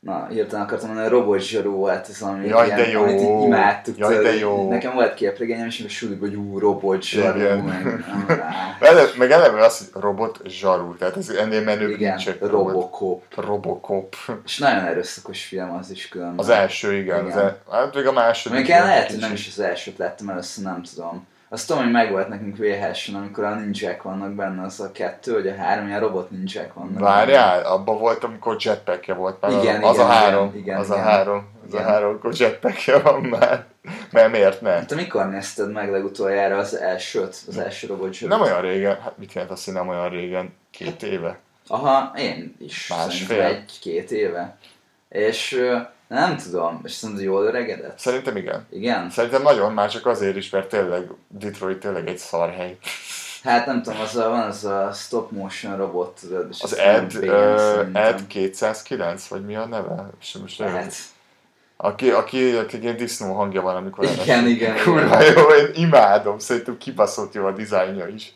D: Na, hirtelen akartam mondani, a robot zsarú volt, ez ami
C: Jaj, de jó.
D: amit így imádtuk.
C: Jaj, de
D: tudod.
C: jó.
D: Nekem volt képregényem, és suli, hogy ú, robot
C: Igen.
D: zsarú, meg, ah,
C: Ele, meg eleve az, hogy robot zsarú, tehát ez ennél menőbb
D: Igen,
C: nincs egy robot.
D: Robocop.
C: Robocop.
D: És nagyon erőszakos film az is különben.
C: Az első, igen.
D: Igen.
C: igen. Az el, hát még a második.
D: Mondjuk én lehet, hogy
C: kicsit.
D: nem is az elsőt láttam először, nem tudom. Azt tudom, hogy meg volt nekünk VHS-en, amikor a ninják vannak benne, az a kettő, vagy a három, ilyen robot ninják vannak.
C: Várjál, abban volt, amikor jetpackje volt már.
D: Igen,
C: az
D: igen,
C: a három,
D: igen, igen,
C: az
D: igen.
C: a három, az
D: Igen.
C: a három, akkor jetpackje van már. Mert miért ne?
D: Hát te mikor nézted meg legutoljára az elsőt, az első robot zsörűt?
C: Nem olyan régen, hát mit jelent azt, hogy nem olyan régen?
D: Hát-
C: Két éve?
D: Aha, én is.
C: Másfél.
D: szerintem Egy-két éve. És ö, nem tudom, és szerintem jól öregedett?
C: Szerintem igen.
D: Igen?
C: Szerintem nagyon már csak azért is, mert tényleg Detroit tényleg egy szarhely.
D: Hát nem tudom, az a, van az a stop motion robot, tudod, és
C: Az
D: ez nem
C: Ed,
D: pénz,
C: ö,
D: szerintem.
C: Ed 209, vagy mi a neve? Sem most nem.
D: Ed.
C: Aki, aki, aki ilyen disznó hangja van, amikor
D: Igen,
C: elmesél.
D: igen,
C: Kurva jó, én imádom, szerintem kibaszott jó a dizájnja is.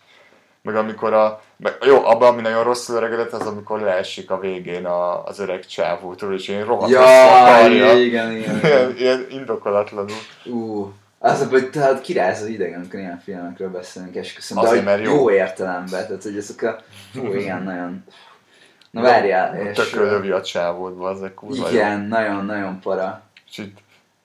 C: Meg amikor a... Meg, jó, abban, ami nagyon rosszul öregedett, az amikor leesik a végén a, az öreg csávótól, és én rohadt
D: Ja, igen, igen, igen.
C: Ilyen, ilyen indokolatlanul.
D: Ú, az, hogy tehát király az idegen, amikor ilyen filmekről beszélünk, és köszönöm,
C: Azért, mert jó.
D: jó értelemben, tehát hogy ezek a... Ú, igen, nagyon... Na várjál, és...
C: Tökről lövi a csávódba, az egy kurva jó.
D: Igen, nagyon-nagyon para.
C: És így,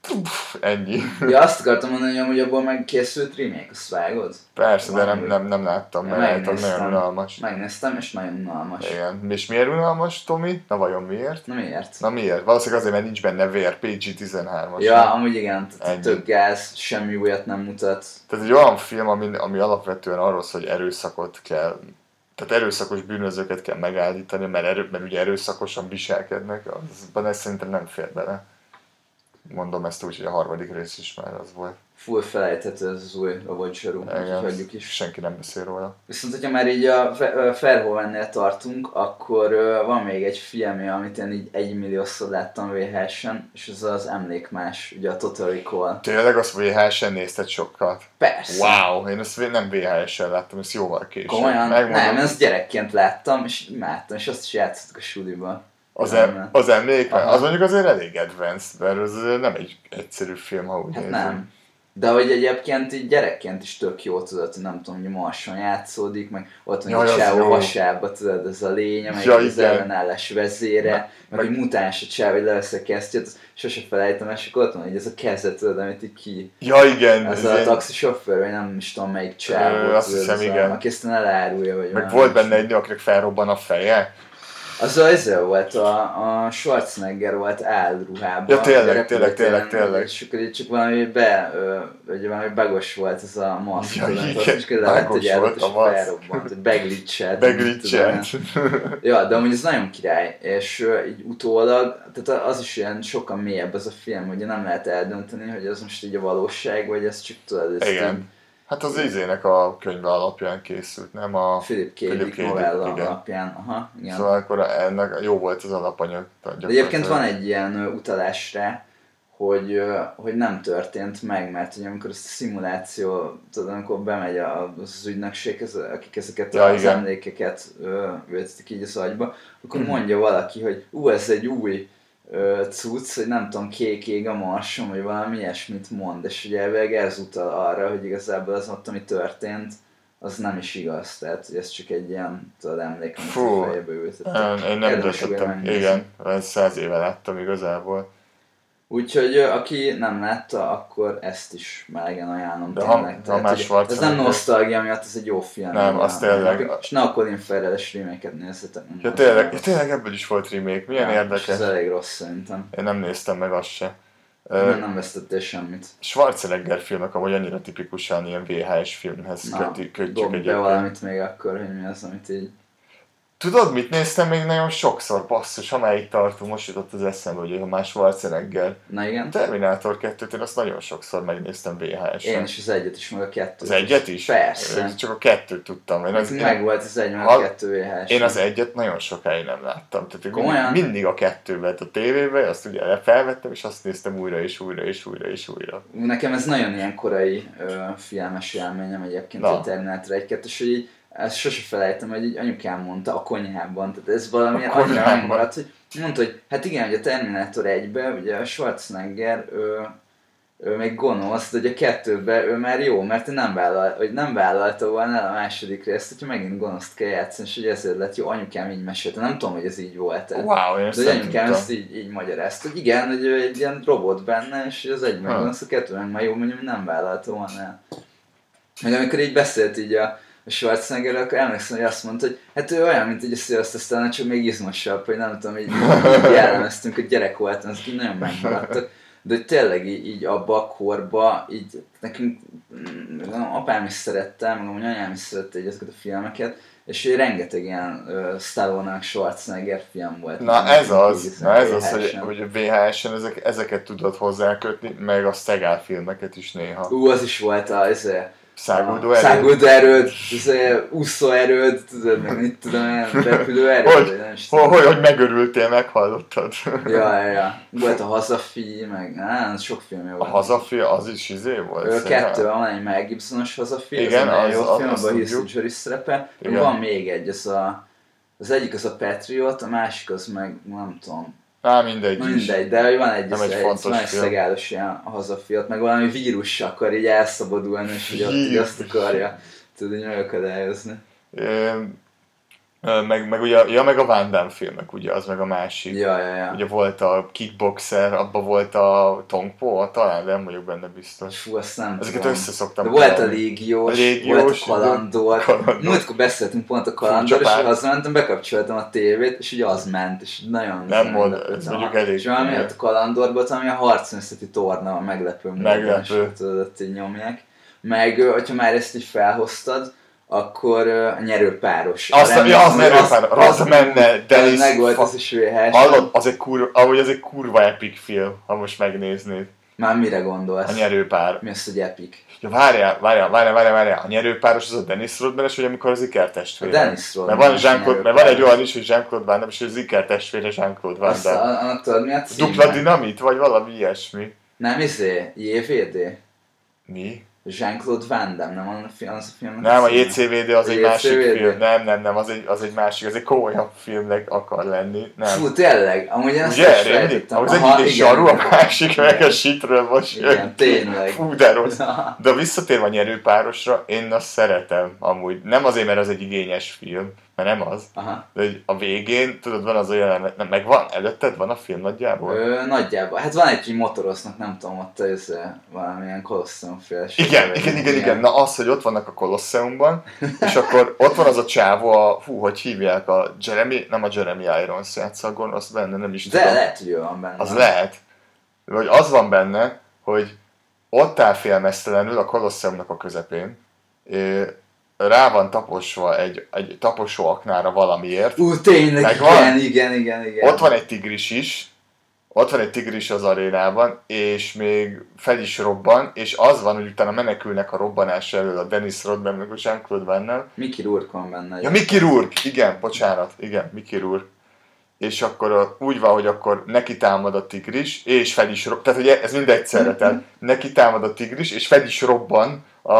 C: puf, ennyi.
D: Ja, azt akartam mondani, hogy amúgy abból meg készült remake, azt vágod?
C: Persze, de nem,
D: Van.
C: nem, nem láttam,
D: Ja,
C: mert lehet, hogy
D: megnéztem.
C: nagyon unalmas.
D: Megnéztem, és nagyon unalmas.
C: Igen. És miért unalmas, Tomi? Na vajon miért?
D: Na miért?
C: Na miért? Valószínűleg azért, mert nincs benne vér, PG-13-as.
D: Ja, amúgy igen, tehát
C: Ennyi.
D: több gáz, semmi újat nem mutat.
C: Tehát egy olyan film, ami, ami alapvetően arról szól, hogy erőszakot kell, tehát erőszakos bűnözőket kell megállítani, mert, erő, mert ugye erőszakosan viselkednek, azban ez szerintem nem fér bele. Mondom ezt úgy, hogy a harmadik rész is már az volt.
D: Full felejthető ez az új robot zsarú, úgyhogy Hát, hagyjuk is.
C: senki nem beszél róla.
D: Viszont, hogyha már így a Fe- ö, Verhoevennél tartunk, akkor ö, van még egy filmje, amit én így egymilliószor láttam VHS-en, és ez az Emlékmás, ugye a Total Recall.
C: Tényleg azt VHS-en nézted sokkal?
D: Persze.
C: Wow, én ezt nem VHS-en láttam, ezt jóval később.
D: Komolyan?
C: Megmondom,
D: Nem, ezt gyerekként láttam, és imádtam, és azt is játszottuk a suliba.
C: az,
D: Nem.
C: em, az emlék,
D: Aha.
C: az mondjuk azért elég advanced, mert az azért nem egy egyszerű film, ha úgy
D: Hát
C: nézem.
D: nem. De hogy egyébként így gyerekként is tök jó tudod, hogy nem tudom, hogy Marson játszódik, meg ott van
C: Jaj,
D: egy
C: az
D: csávó
C: jó.
D: vasába, tudod, ez a lény, meg
C: Ja,
D: az
C: igen.
D: ellenállás vezére, meg, meg egy mutáns a csáv, hogy levesz a kesztyűt, azt sose felejtem, és akkor ott van, hogy ez a keze, tudod, amit így ki...
C: Ja igen,
D: Ez
C: ez
D: a
C: ilyen-
D: taxisofőr, vagy nem is tudom melyik csávó.
C: Ö, azt
D: tudod,
C: hiszem,
D: ez a-
C: igen.
D: Aki aztán elárulja, vagy
C: meg
D: valami,
C: volt
D: nem
C: benne egy nő, akinek felrobban a feje.
D: Hát az a ezzel volt, a, a Schwarzenegger volt álruhában.
C: Ja, tényleg,
D: a
C: tényleg,
D: repülőtéren,
C: tényleg, tényleg.
D: És akkor itt csak valami be, ö, vagy valami bagos volt ez a maszk.
C: Ja,
D: tudod,
C: igen,
D: azt is kellett
C: bagos
D: egy állat,
C: volt
D: és
C: a maszk.
D: felrobbant, hogy beglitchelt.
C: Beglitchelt.
D: Ja, de amúgy ez nagyon király, és ö, így utólag, tehát az is ilyen sokkal mélyebb az a film, hogy nem lehet eldönteni, hogy ez most így a valóság, vagy ez csak tudod, ez
C: Igen. Hát az izének a könyve alapján készült, nem a...
D: a Philip K.
C: Philip
D: Dick
C: K. Dick,
D: novella
C: igen.
D: alapján. Aha, igen.
C: Szóval akkor ennek jó volt az alapanyag.
D: De egyébként van egy ilyen ö, utalás rá, hogy, ö, hogy nem történt meg, mert hogy amikor ezt a szimuláció, tudod, amikor bemegy a- az ügynökség, ez, akik ezeket
C: Ja,
D: az
C: igen. Mhm.
D: emlékeket ö, vetik így az agyba, akkor mondja valaki, hogy ú, ez egy új ö, cucc, hogy nem tudom, kék ég a marsom, vagy valami ilyesmit mond, és ugye elvileg ez utal arra, hogy igazából az ott, ami történt, az nem is igaz, tehát hogy ez csak egy ilyen, tudod, emlék, amit
C: Fú,
D: a fejbe ültettek.
C: Én, én nem
D: Érdemes újra
C: döntöttem.
D: megnézni.
C: Igen, ezt száz éve láttam igazából.
D: Úgyhogy ö, aki nem látta, akkor ezt is melegen ajánlom
C: De ha- ha már
D: Tehát, hogy Ez nem
C: Schwarzenegger-
D: nosztalgia miatt, ez egy jó film.
C: Nem,
D: Igen.
C: az tényleg-
D: És ne a Colin Farrell-es reméket nézzetek.
C: Ja tényleg, ja, tényleg ebből is volt remake, milyen
D: Ja, és
C: érdekes.
D: Ez elég rossz szerintem.
C: Én nem néztem meg azt se. Ö,
D: Nem, nem vesztettél semmit.
C: Schwarzenegger filmek amúgy annyira tipikusan ilyen VHS filmhez
D: Na,
C: köti- kötjük
D: Dobd be
C: egyébként.
D: valamit még akkor, hogy mi az, amit így...
C: Tudod, mit néztem még nagyon sokszor, basszus, amáig tartunk, most jutott az eszembe, hogy a más Schwarzenegger.
D: Na igen.
C: Terminátor 2-t én azt nagyon sokszor megnéztem
D: Én
C: VHS-en.
D: is az egyet is, meg a kettőt
C: Az egyet is?
D: Persze.
C: Én Csak a kettőt tudtam. Én az,
D: Meg
C: én,
D: volt az egy, meg a
C: Ha-
D: kettő VHS.
C: én az egyet nagyon sokáig nem láttam. Tehát
D: Komolyan?
C: mindig, mindig a kettő lett a tévébe, azt ugye felvettem, és azt néztem újra és újra és újra és újra.
D: Nekem ez nagyon ilyen korai ö, filmes élményem egyébként
C: Na.
D: a Terminátor 1 2 és hogy így, ezt sose felejtem, hogy így anyukám mondta a konyhában, tehát ez valami
C: A
D: annyira
C: konyhában.
D: megmaradt, hogy mondta, hogy hát igen, hogy a Terminátor 1-ben ugye a Schwarzenegger ő, ő még gonosz, de ugye a kettőben ő már jó, mert ő nem, vállal, hogy nem vállalta volna el a második részt, hogyha megint gonoszt kell játszani, és hogy ezért lett jó, anyukám így mesélte, nem tudom, hogy ez így volt-e.
C: Wow, én
D: De
C: ezt
D: hogy
C: nem
D: anyukám
C: tudtam.
D: ezt így, így magyarázta, hogy igen, hogy ő egy ilyen robot benne, és az egy meg
C: Ha.
D: gonosz, a kettő meg már jó, mondjuk nem vállalta volna el. Meg amikor így beszélt így a, a Schwarzenegger, akkor emlékszem, hogy azt mondta, hogy hát ő olyan, mint egy a Sylvester Stallone, csak még izmosabb, hogy nem tudom, így, így jellemeztünk, hogy gyerek voltam, azok így nagyon megmaradtak. De hogy tényleg így, így abba a korba, így nekünk mm, apám is szerette, meg amúgy anyám is szerette így ezeket a filmeket, és így rengeteg ilyen uh, Stallone-nak Schwarzenegger film volt.
C: Na ez az, na ez az, hogy,
D: VHS-en.
C: hogy a VHS-en ezek, ezeket tudod hozzákötni, meg a Szegál filmeket is néha.
D: Ú, az is volt a, ez a
C: Száguldó
D: erőd.
C: erőd.
D: Száguldó erőd, ez a úszó erőd, tudod, meg mit tudom, ilyen repülő erőd,
C: Hogy?
D: vagy nem is
C: Hol,
D: tudom.
C: hogy, hogy megörültél, meghallottad.
D: Ja, ja, ja. Volt a hazafi, meg á, sok film volt.
C: A hazafia az is izé volt.
D: Ö,
C: szerintem.
D: Kettő, van egy Mel Gibsonos hazafi,
C: Igen,
D: az, a nagyon
C: az-
D: jó
C: az-
D: film,
C: azt
D: abban Heath
C: tudjuk.
D: Ledger is szerepel.
C: Igen.
D: Van még egy, az a, az egyik az a Patriot, a másik az meg, nem tudom,
C: Á, mindegy.
D: Na
C: is.
D: mindegy, de hogy van egy,
C: Nem
D: ez
C: egy
D: egy
C: fontos
D: nagyon
C: film.
D: szegálos ilyen hazafiat, meg valami vírus akar így elszabadulni, és hogy ott így azt akarja, tudod, így megakadályozni.
C: Ö, ö, meg, meg ugye, ja, meg a Van Damme filmek, ugye, az meg a másik.
D: Ja, ja, ja.
C: Ugye volt a kickboxer, abban volt a tongpo, talán nem vagyok benne biztos.
D: Fú, azt nem
C: Ezeket
D: tudom.
C: össze szoktam
D: De volt a
C: keverni.
D: légiós,
C: A légiós,
D: volt a kalandor.
C: igen. Kalandor.
D: Múltkor beszéltünk pont a kalandor, és
C: Furcsa pár.
D: hazamentem, bekapcsoltam a tévét, és ugye az ment, és nagyon...
C: Nem mond,
D: meglepett.
C: ez
D: Na,
C: mondjuk elég.
D: És valami ott a kalandorban, ami a harcművészeti torna, a meglepő módon,
C: Meglepő.
D: és ott ott így nyomják. Meg, ö, hogyha már ezt így felhoztad, akkor ö, a nyerőpáros.
C: Azt-
D: Remélem,
C: ja, az
D: hogy
C: nyerőpáros. Az menne, de
D: tényleg
C: is
D: Megvolt
C: fa-
D: az is VHS.
C: Hallod, az egy kurva, ahogy az egy kurva epic film, ha most megnéznéd.
D: Már mire
C: A
D: gondolsz?
C: nyerőpár.
D: Mi az, hogy epic?
C: Ja, várjál, várjál, várjál, várjál, várjál. A nyerőpáros az a Dennis Rodman, és hogy amikor az Iker
D: A
C: testvére.
D: Dennis Rodman.
C: mert van,
D: is
C: Jean-Claude, mert van
D: nyerőpáros.
C: egy olyan is, hogy Jean-Claude Van Damme, és az Iker testvére Jean-Claude Van
D: Azt,
C: Damme.
D: a- annak tudod mi a címe?
C: Dupla dinamit, vagy valami ilyesmi.
D: Nem izé, JVD?
C: Mi?
D: Jean-Claude Van Damme, nem az a film, az a filmnek
C: Nem, a
D: címe?
C: JCVD az egy
D: A
C: másik
D: JCVD?
C: film. Nem, nem, nem, az egy, az egy másik, az egy komolyabb filmnek akar lenni. Nem.
D: Fú, tényleg, amúgy én ezt
C: Ugye,
D: is
C: Rémi?
D: sejtettem.
C: Az egyik egy zsaru, a másik meg a
D: Igen.
C: sitről most
D: Igen,
C: jön ki.
D: tényleg.
C: Fú, de rossz.
D: Na,
C: De visszatérve a nyerőpárosra, én azt szeretem amúgy. Nem azért, mert az egy igényes film, mert nem az.
D: Aha.
C: De hogy a végén, tudod, van az olyan jelenet, nem, meg van, előtted van a film nagyjából?
D: Ö, nagyjából. Hát van egy, hogy motoroznak, nem tudom, ott ez eh, valamilyen kolosszum féles.
C: Igen, igen, igen, igen. Na az, hogy ott vannak a Kolosseumban, és akkor ott van az a csávó, a, hú, hogy hívják a Jeremy, nem a Jeremy Irons játsza a gonosz benne, nem is
D: De
C: tudom.
D: lehet, hogy ő van benne.
C: Az lehet. Vagy az van benne, hogy ott áll félmeztelenül a Kolosseumnak a közepén, ö, rá van taposva egy, egy taposó aknára valamiért,
D: Ú, tényleg,
C: Megvan?
D: igen, igen, igen, igen.
C: ott van egy tigris is, ott van egy tigris az arénában, és még fel is robban, és az van, hogy utána menekülnek a robbanás elől a Dennis Rodman, meg a Jean-Claude Van Damme.
D: Mickey Rourke van benne. Hát
C: Ja, Mickey Rourke, igen, bocsánat, igen, Mickey Rourke. És akkor ö, úgy van, hogy akkor neki támad a tigris, és fel is robban, tehát ugye ez mind egyszerre, tehát neki támad a tigris, és fel is robban a,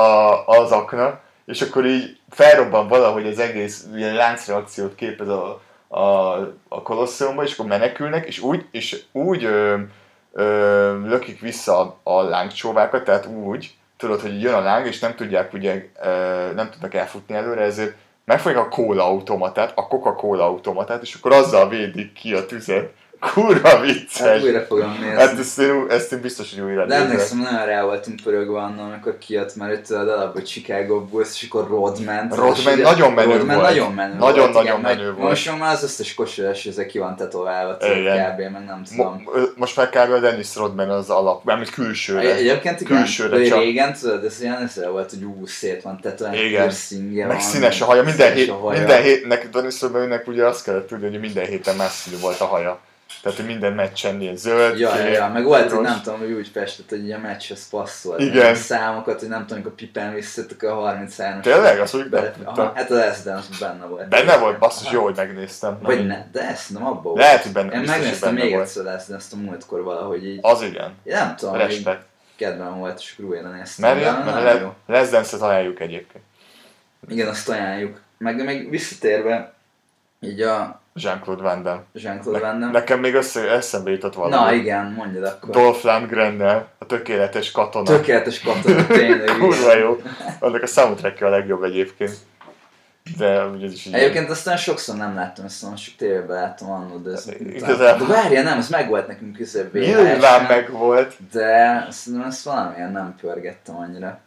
C: az akna, és akkor így felrobban valahogy az egész ilyen láncreakciót képez a, a, a kolosszeumba, és akkor menekülnek, és úgy, és úgy ö, ö, lökik vissza a, a lángcsóvákat, tehát úgy, tudod, hogy jön a láng, és nem tudják ugye, ö, nem tudnak elfutni előre, ezért megfogják a kóla automatát, a Coca-Cola automatát, és akkor azzal védik ki a tüzet. Kurva
D: Hát
C: vicces!
D: újra fogom nézni.
C: Hát ezt én, ezt én biztos, hogy újra
D: De
C: nézek.
D: emlékszem, nagyon rá voltunk pörögve annól, amikor kijött, mert itt tudod alapból Chicago Bulls, és akkor Rodman. tudod,
C: Rodman
D: és ugye-
C: nagyon menő
D: Rodman
C: volt.
D: nagyon menő
C: Nagyon-nagyon
D: volt, igen,
C: menő
D: meg
C: volt.
D: Most már az összes kosaras, ezek ki van tetoválva, tudod,
C: Igen.
D: kb. meg nem
C: Mo-
D: tudom.
C: ö, most már kb. a Dennis Rodman az alap, mármint külsőre.
D: Egyébként igen,
C: Külsőre
D: de
C: csak.
D: régen, tudod, ez ilyen ezzel volt, hogy ú, szét van tetoválva,
C: Igen.
D: piercingje
C: Meg
D: van,
C: színes a haja, minden,
D: színes
C: hét,
D: a haja.
C: minden hét, neki Dennis Rodmannek ugye azt kellett tudni, hogy minden héten más színű volt a haja. Tehát, hogy minden meccsen ilyen zöld,
D: Ja, ja,
C: kék,
D: ja, meg volt, hogy
C: piros.
D: nem tudom, hogy úgy festett, hogy a meccshez passzolt.
C: Igen.
D: meg A számokat, hogy nem tudom, amikor Pippen visszatök a 33
C: Tényleg? Azt úgy nem
D: Aha,
C: tudtam.
D: hát a Last Dance benne volt.
C: Benne volt, basszus,
D: Aha.
C: jó, hogy megnéztem. Na,
D: Vagy
C: mind-
D: ne, de ezt nem abban volt.
C: Lehet, hogy benne,
D: Én
C: biztos, hogy
D: megnéztem
C: benne
D: még
C: volt.
D: egyszer ezt, ezt a múltkor valahogy így.
C: Az igen,
D: Én nem tudom, hogy
C: respekt.
D: kedvem volt, és akkor újra néztem.
C: Mert,
D: de
C: mert,
D: nagyon
C: mert
D: jó.
C: le, lesz dance találjuk egyébként.
D: Igen, azt ajánljuk. Meg még visszatérve, így a
C: Jean-Claude Van Damme.
D: Jean-Claude Van Damme.
C: Nekem még össze, eszembe jutott valami.
D: Na igen, mondjad akkor.
C: Dolph Lundgrennel, a tökéletes katona.
D: Tökéletes katona, tényleg. is.
C: Kurva jó. Annak a soundtrackje a legjobb egyébként. De ugye ez is így...
D: Egyébként aztán sokszor nem láttam ezt, most csak tévében láttam annó, de ezt
C: Igazából-
D: De várja, nem, ez meg volt nekünk közebb
C: Nyilván meg volt.
D: De szerintem ezt valamilyen nem pörgettem annyira.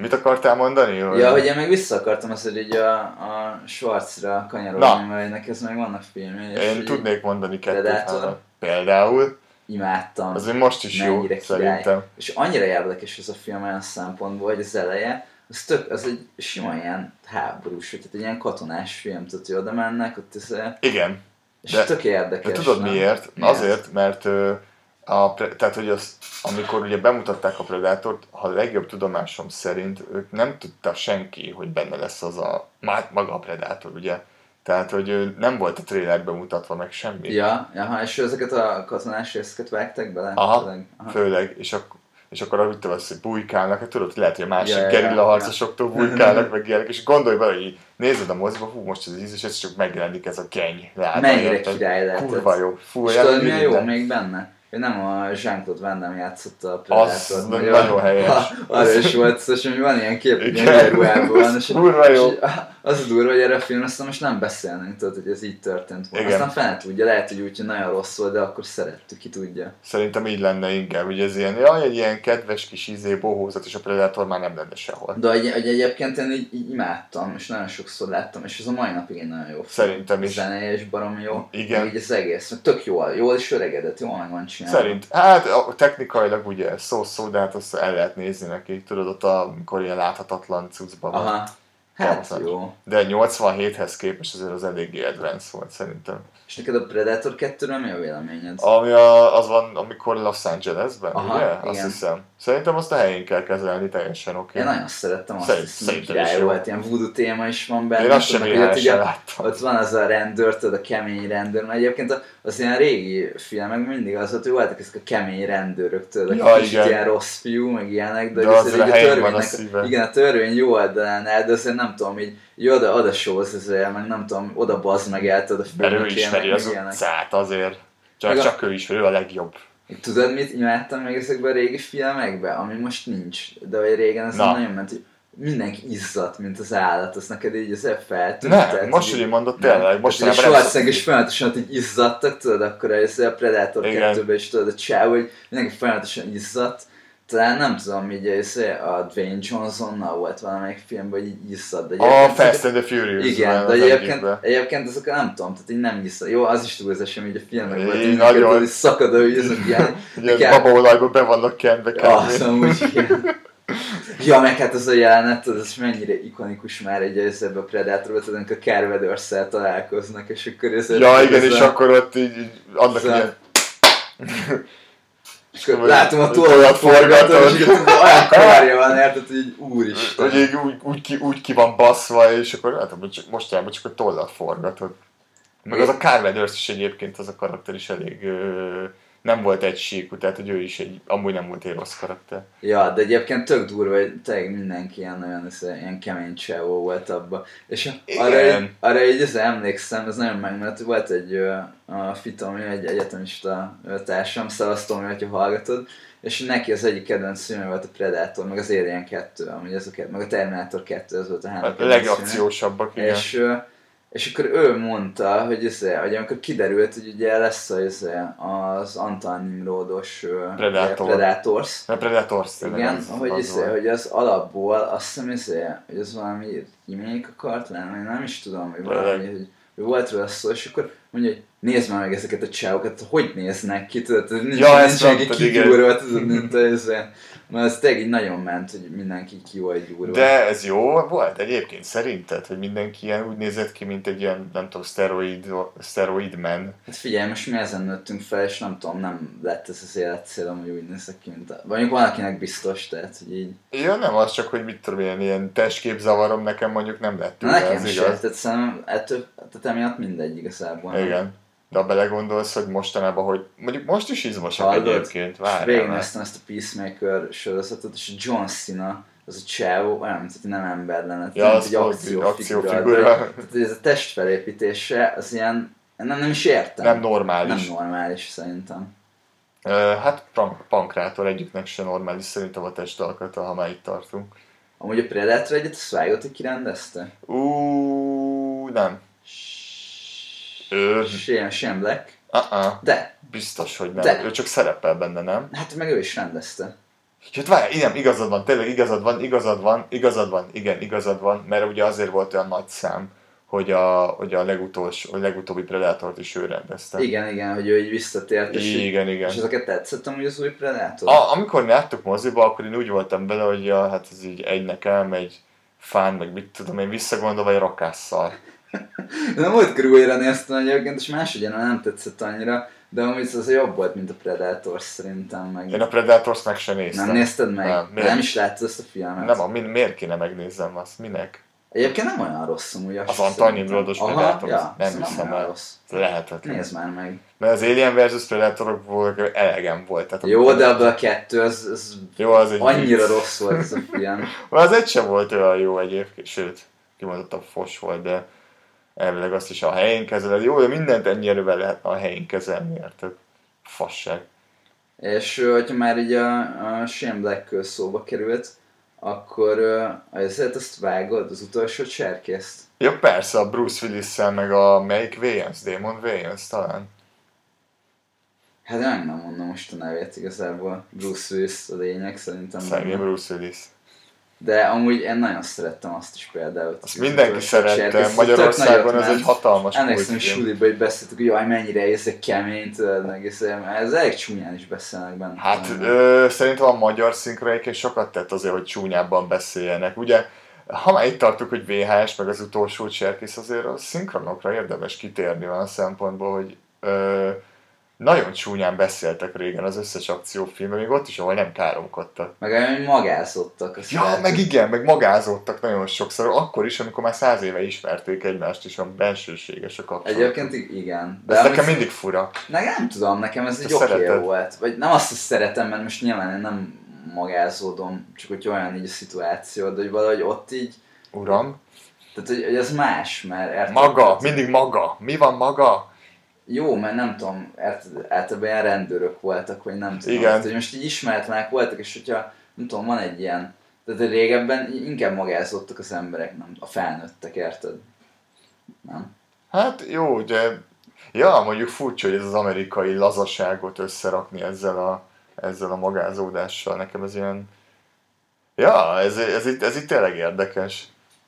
C: Mit akartál mondani?
D: Ja, hogy én még vissza akartam azt, hogy így a, a Schwarzra kanyarodni,
C: Na.
D: mert neki ez meg vannak filmje. és
C: Én
D: így
C: tudnék mondani kettőt.
D: Predator.
C: három. Például.
D: Imádtam.
C: Azért most is jó,
D: Mennyire király.
C: szerintem.
D: És annyira érdekes ez a film olyan szempontból, hogy az eleje, az, tök, az egy sima ilyen háborús, vagy tehát egy ilyen katonás film, tehát hogy oda mennek, ott ez,
C: Igen.
D: és
C: De-
D: tök
C: De
D: érdekes.
C: tudod
D: nem?
C: miért?
D: Miért?
C: Azért, mert ö, a, pre- tehát, hogy az, amikor ugye bemutatták a Predátort, ha a legjobb tudomásom szerint ők nem tudta senki, hogy benne lesz az a, má- maga a Predátor, ugye? Tehát, hogy ő nem volt a trailerben mutatva meg semmi.
D: Ja, aha, és ezeket a katonás részeket vágták bele?
C: Aha,
D: Tényleg? aha.
C: Főleg, és, ak- és akkor ahogy te vesz, hogy bujkálnak, hát tudod, lehet, hogy a másik
D: Ja, ja,
C: yeah,
D: ja,
C: gerilla harcosoktól bujkálnak, meg ilyenek, és gondolj bele, hogy így nézed a moziba, hú, most ez íz, és ez csak megjelenik ez a geny. Láda,
D: Mennyire
C: érted?
D: király lehetett.
C: Kurva jó. Fú,
D: És
C: olyan
D: tudod, mi a jó
C: irigynek.
D: még benne? Ő nem a Jean-Claude Van Damme játszotta a
C: Az
D: Predator-t,
C: nagyon
D: ugye?
C: helyes.
D: Ha, Arra is volt szó, és hogy van ilyen kép, hogy
C: Igen.
D: ilyen ruhában van, és,
C: Kurva jó.
D: és az a durva, hogy erre a filmre aztán most nem beszélnünk, tudod, hogy ez így történt volna.
C: Igen.
D: Aztán fel tudja, lehet, hogy úgy, hogy nagyon rossz volt, de akkor szerettük, ki tudja.
C: Szerintem így lenne inkább, hogy ez ilyen, jaj, egy ilyen kedves kis izé, bohózat, és a Predator már nem lenne sehol.
D: De egy, egy egyébként én így, így, imádtam, és nagyon sokszor láttam, és ez a mai napig egy nagyon jó film.
C: Szerintem is.
D: Zenéje és barom jó.
C: Igen.
D: Így az egész, mert tök jól, jól is öregedett, jól meg van csinálva.
C: Szerint, hát a- technikailag ugye szó-szó, de hát azt el lehet nézni neki, tudod, ott a- amikor ilyen láthatatlan cuccban van.
D: Aha. Hát
C: Valószínűleg.
D: jó.
C: De 87-hez képest azért az eléggé advanced volt szerintem.
D: És neked a Predator 2-ről mi a véleményed?
C: Ami a, az van, amikor Los Angelesben,
D: Aha,
C: ugye? Azt
D: igen.
C: hiszem. Szerintem azt a helyén kell kezelni, teljesen oké.
D: Én nagyon szerettem azt,
C: Szerint-
D: Szerint,
C: szerintem
D: hiszem,
C: is
D: király
C: jó.
D: volt, ilyen voodoo téma is van benne.
C: Én azt sem
D: tudod,
C: éjjel
D: hogy
C: sem
D: ugye
C: láttam.
D: Ott van az a rendőr, tudod, a kemény rendőr, mert egyébként a- az ilyen régi filmek mindig az, volt, hogy voltak ezek a kemény rendőrök, tudod, akik
C: Ja,
D: ja, kicsit
C: igen.
D: ilyen rossz fiú, meg ilyenek, de,
C: De
D: hogy
C: azért a
D: így
C: helyén van a szíve.
D: igen, a törvény jó oldalán áll, de azért nem tudom, így, így oda, oda sóz ezzel, meg nem tudom, oda bazd meg el, tudod, a
C: Mert ő
D: főnökének,
C: ismeri
D: meg
C: az
D: ilyenek.
C: utcát azért. Csak,
D: Meg a-
C: csak ő is, ő a legjobb.
D: Tudod, mit imádtam még ezekben a régi filmekben, ami most nincs, de vagy régen ez
C: Na.
D: nagyon ment, hogy mindenki izzadt, mint az állat, az neked így az feltűnt.
C: Nem, most, hogy én mondod, tényleg, most
D: nem.
C: nem
D: És Schwarzenegger is folyamatosan hogy izzadtak, tudod, akkor ez a Predator
C: Igen.
D: 2 is tudod, a csáv, hogy mindenki folyamatosan izzadt. Talán nem tudom, így ez a Dwayne Johnsonnal volt valamelyik filmben, hogy így izzadt. de
C: A
D: egyébként-
C: Fast and the Furious.
D: igen,
C: van
D: de
C: az
D: egyébként,
C: egyikben.
D: egyébként ezek nem tudom, tehát így nem hiszem. Jó, az is túlzás, hogy a filmek volt,
C: Én
D: így
C: nagyon.
D: nagyon szakad, hogy ezek ilyen.
C: Ilyen babaolajban be vannak kendve
D: Ja,
C: kb.
D: Azt amúgy igen. Ja, meg hát az a jelenet, az, az mennyire ikonikus már egy ez ebbe a Predatorba, tudod, amikor Carver Dorsal találkoznak, és akkor ez
C: Ja, igen,
D: ez
C: és
D: a-
C: akkor ott így, így adnak
D: ez a-
C: ilyen...
D: és akkor látom a tollat
C: tollat
D: forgatom,
C: forgatod.
D: és akkor tudod, olyan kárja van, érted, hogy így úristen.
C: Hogy így úgy, úgy, ki, úgy ki van baszva, és akkor hát, hogy csak, mostanában csak a tollat forgatod. Meg az a Carver Durst is egyébként, az a karakter is elég... Ö, nem volt egy síkú, tehát hogy ő is egy, amúgy nem volt egy rossz karakter.
D: Ja, de egyébként tök durva, hogy tényleg mindenki ilyen, olyan, össze- ilyen kemény csávó volt abban. És arra,
C: Igen.
D: így- arra így az emlékszem, ez nagyon megmaradt, volt egy ö, a Fitomi, egy egyetemista ö, társam, Szalasz Tomi, hogyha hallgatod, és neki az egyik kedvenc filmje volt a Predator, meg az Alien 2, amúgy ez a, ke- meg a Terminator 2, ez volt a három
C: A
D: kedvenc filmje.
C: Hát, legakciósabbak, igen.
D: Hát, És, ö, és akkor ő mondta, hogy, ez, hogy amikor kiderült, hogy ugye lesz az, az Antal Nimrodos ö,
C: Predator.
D: Predators,
C: A Predators tényleg
D: igen,
C: az-
D: ahogy
C: az
D: az,
C: volt.
D: hogy az alapból azt hiszem, izé, hogy az valami remake akart lenni, nem is tudom, hogy valami,
C: Tényleg.
D: hogy hogy volt róla szó, és akkor mondja, hogy nézd már meg ezeket a csávokat, hogy néznek ki, tudod, ez nincs,
C: Ja,
D: ja, nincs
C: ezt
D: senki
C: mondtad, igen.
D: kigyúrva, tudod, mint ez, mert az tényleg így nagyon ment, hogy mindenki ki volt gyúrva.
C: De ez jó volt egyébként szerinted, hogy mindenki ilyen úgy nézett ki, mint egy ilyen, nem tudom, steroid, steroid man.
D: Hát figyelj, most mi ezen nőttünk fel, és nem tudom, nem lett ez az életcélom, hogy úgy nézek ki, mint a... Mondjuk van, akinek biztos, tehát, hogy így...
C: Ja, nem az csak, hogy mit tudom, ilyen, ilyen testképzavarom nekem mondjuk nem lett
D: Na,
C: tőle,
D: nekem
C: ez
D: se,
C: igaz.
D: tehát szerintem ettől, tehát emiatt mindegy igazából.
C: Igen. De ha belegondolsz, hogy mostanában, hogy mondjuk most is izmosak
D: Hallod?
C: egyébként, várjál.
D: Végignéztem ezt a Peacemaker sorozatot, és John Cena az a csávó, nem, tehát nem ember lenne,
C: Ja,
D: nem
C: az
D: egy
C: volt,
D: akciófigura,
C: akciófigura.
D: de- Tehát ez a testfelépítése, az ilyen, nem, nem is értem.
C: Nem normális.
D: nem normális szerintem.
C: Ö, Hát Pank- Pankrátor egyiknek se normális szerintem a testalkata, ha már itt tartunk.
D: Amúgy a Predator egyet a Svágot ki rendezte?
C: Ú, nem. Ő,
D: Shane, Shane Black.
C: uh-uh,
D: De,
C: biztos, hogy nem.
D: De-
C: Ő csak szerepel benne, nem?
D: hát meg ő is rendezte.
C: Hát várj, nem, igazad van, tényleg igazad van, igazad van, igazad van, igen, igazad van, mert ugye azért volt olyan nagy szám, hogy a, hogy a, legutolsó, a legutóbbi Predátort is ő rendezte.
D: Igen, igen, hogy ő így visszatért, és, így-
C: igen. igen.
D: és ezeket tetszett amúgy az új Predator.
C: A, amikor mi láttuk moziba, akkor én úgy voltam bele, hogy ja, hát ez így egy nekem, egy fán, meg mit tudom én, visszagondolva egy rakásszal.
D: De múlt körülére néztem egyébként, és máshogy nem tetszett annyira, de amúgy az jobb volt, mint a Predator szerintem. Meg...
C: Én a Predators meg sem néztem.
D: nem nézted meg?
C: Nem,
D: Nem,
C: miért?
D: nem is láttad ezt a filmet?
C: Nem, a, mi, miért kéne megnézzem azt? Minek?
D: Egyébként nem olyan rossz amúgy. azt
C: Az
D: szerintem.
C: Antal Nimrodos
D: Aha,
C: Predator,
D: ja,
C: azt nem
D: szóval
C: hiszem
D: olyan
C: el.
D: Rossz.
C: Lehetetlen.
D: Nézd már meg.
C: Mert az Alien vs. Predatorokból elegem volt. Tehát
D: Jó, de abban a kettő, az, az
C: Jó, az egy
D: annyira
C: vicc.
D: rossz volt ez a film.
C: Az egy sem volt olyan jó egyébként, sőt, kimondottan fos volt, de elvileg azt is a helyén kezeled. Jó, de mindent ennyi erővel lehetne a helyén kezelni, érted? Fasság.
D: És ö, hogyha már így a, a Shane Black ö, szóba került, akkor ö, ezért azt vágod, az utolsó cserkészt.
C: Ja persze, a Bruce willis meg a melyik Wayans, Damon Wayans talán.
D: Hát nem, nem mondom most a nevét igazából. Bruce Willis a lényeg szerintem.
C: Szegény Bruce Willis.
D: De amúgy én nagyon szerettem azt is például.
C: Azt mindenki
D: Az utolsó
C: szerette,
D: cserkész, tök
C: Magyarországon
D: nagyot
C: ez
D: ment.
C: egy hatalmas
D: Emlékszem, hogy
C: kultfilm.
D: suliba hogy beszéltük, hogy jaj, mennyire ez egy kemény, tudod, meg ez, ez elég csúnyán is beszélnek benne.
C: Hát
D: Talán.
C: ö, szerintem a magyar szinkronaiként sokat tett azért, hogy csúnyábban beszéljenek. Ugye, ha már itt tartuk, hogy VHS, meg az utolsó cserkész, azért a szinkronokra érdemes kitérni olyan szempontból, hogy ö, nagyon csúnyán beszéltek régen az összes akciófilmben, még ott is, ahol nem káromkodtak.
D: Meg olyan, hogy magázottak. azt
C: Ja,
D: lehet.
C: meg igen, meg magázódtak nagyon sokszor, akkor is, amikor már száz éve ismerték egymást, és a bensőséges a kapcsolat.
D: Egyébként i- igen.
C: Ez nekem
D: amúgy-
C: mindig fura.
D: Ne, nem tudom, nekem ez
C: Te
D: egy oké
C: szereted.
D: volt. Vagy nem azt, hogy szeretem, mert most nyilván én nem magázódom, csak hogy olyan így a szituáció, de hogy valahogy ott így,
C: Uram,
D: tehát hogy, hogy az más, mert érted?
C: maga,
D: Tehát
C: mindig maga. Mi van maga?
D: Jó, mert nem tudom, érted, általában ilyen rendőrök voltak, vagy nem tudom.
C: Igen.
D: Tehát, hogy most így ismeretlenek voltak, és hogyha, nem tudom, van egy ilyen, tehát hogy régebben í- inkább magázottak az emberek, nem a felnőttek, érted? Nem?
C: Hát jó, de ja, mondjuk furcsa, hogy ez az amerikai lazaságot összerakni ezzel a, ezzel a magázódással. Nekem ez ilyen... Ja, ez, ez, itt, ez itt tényleg érdekes.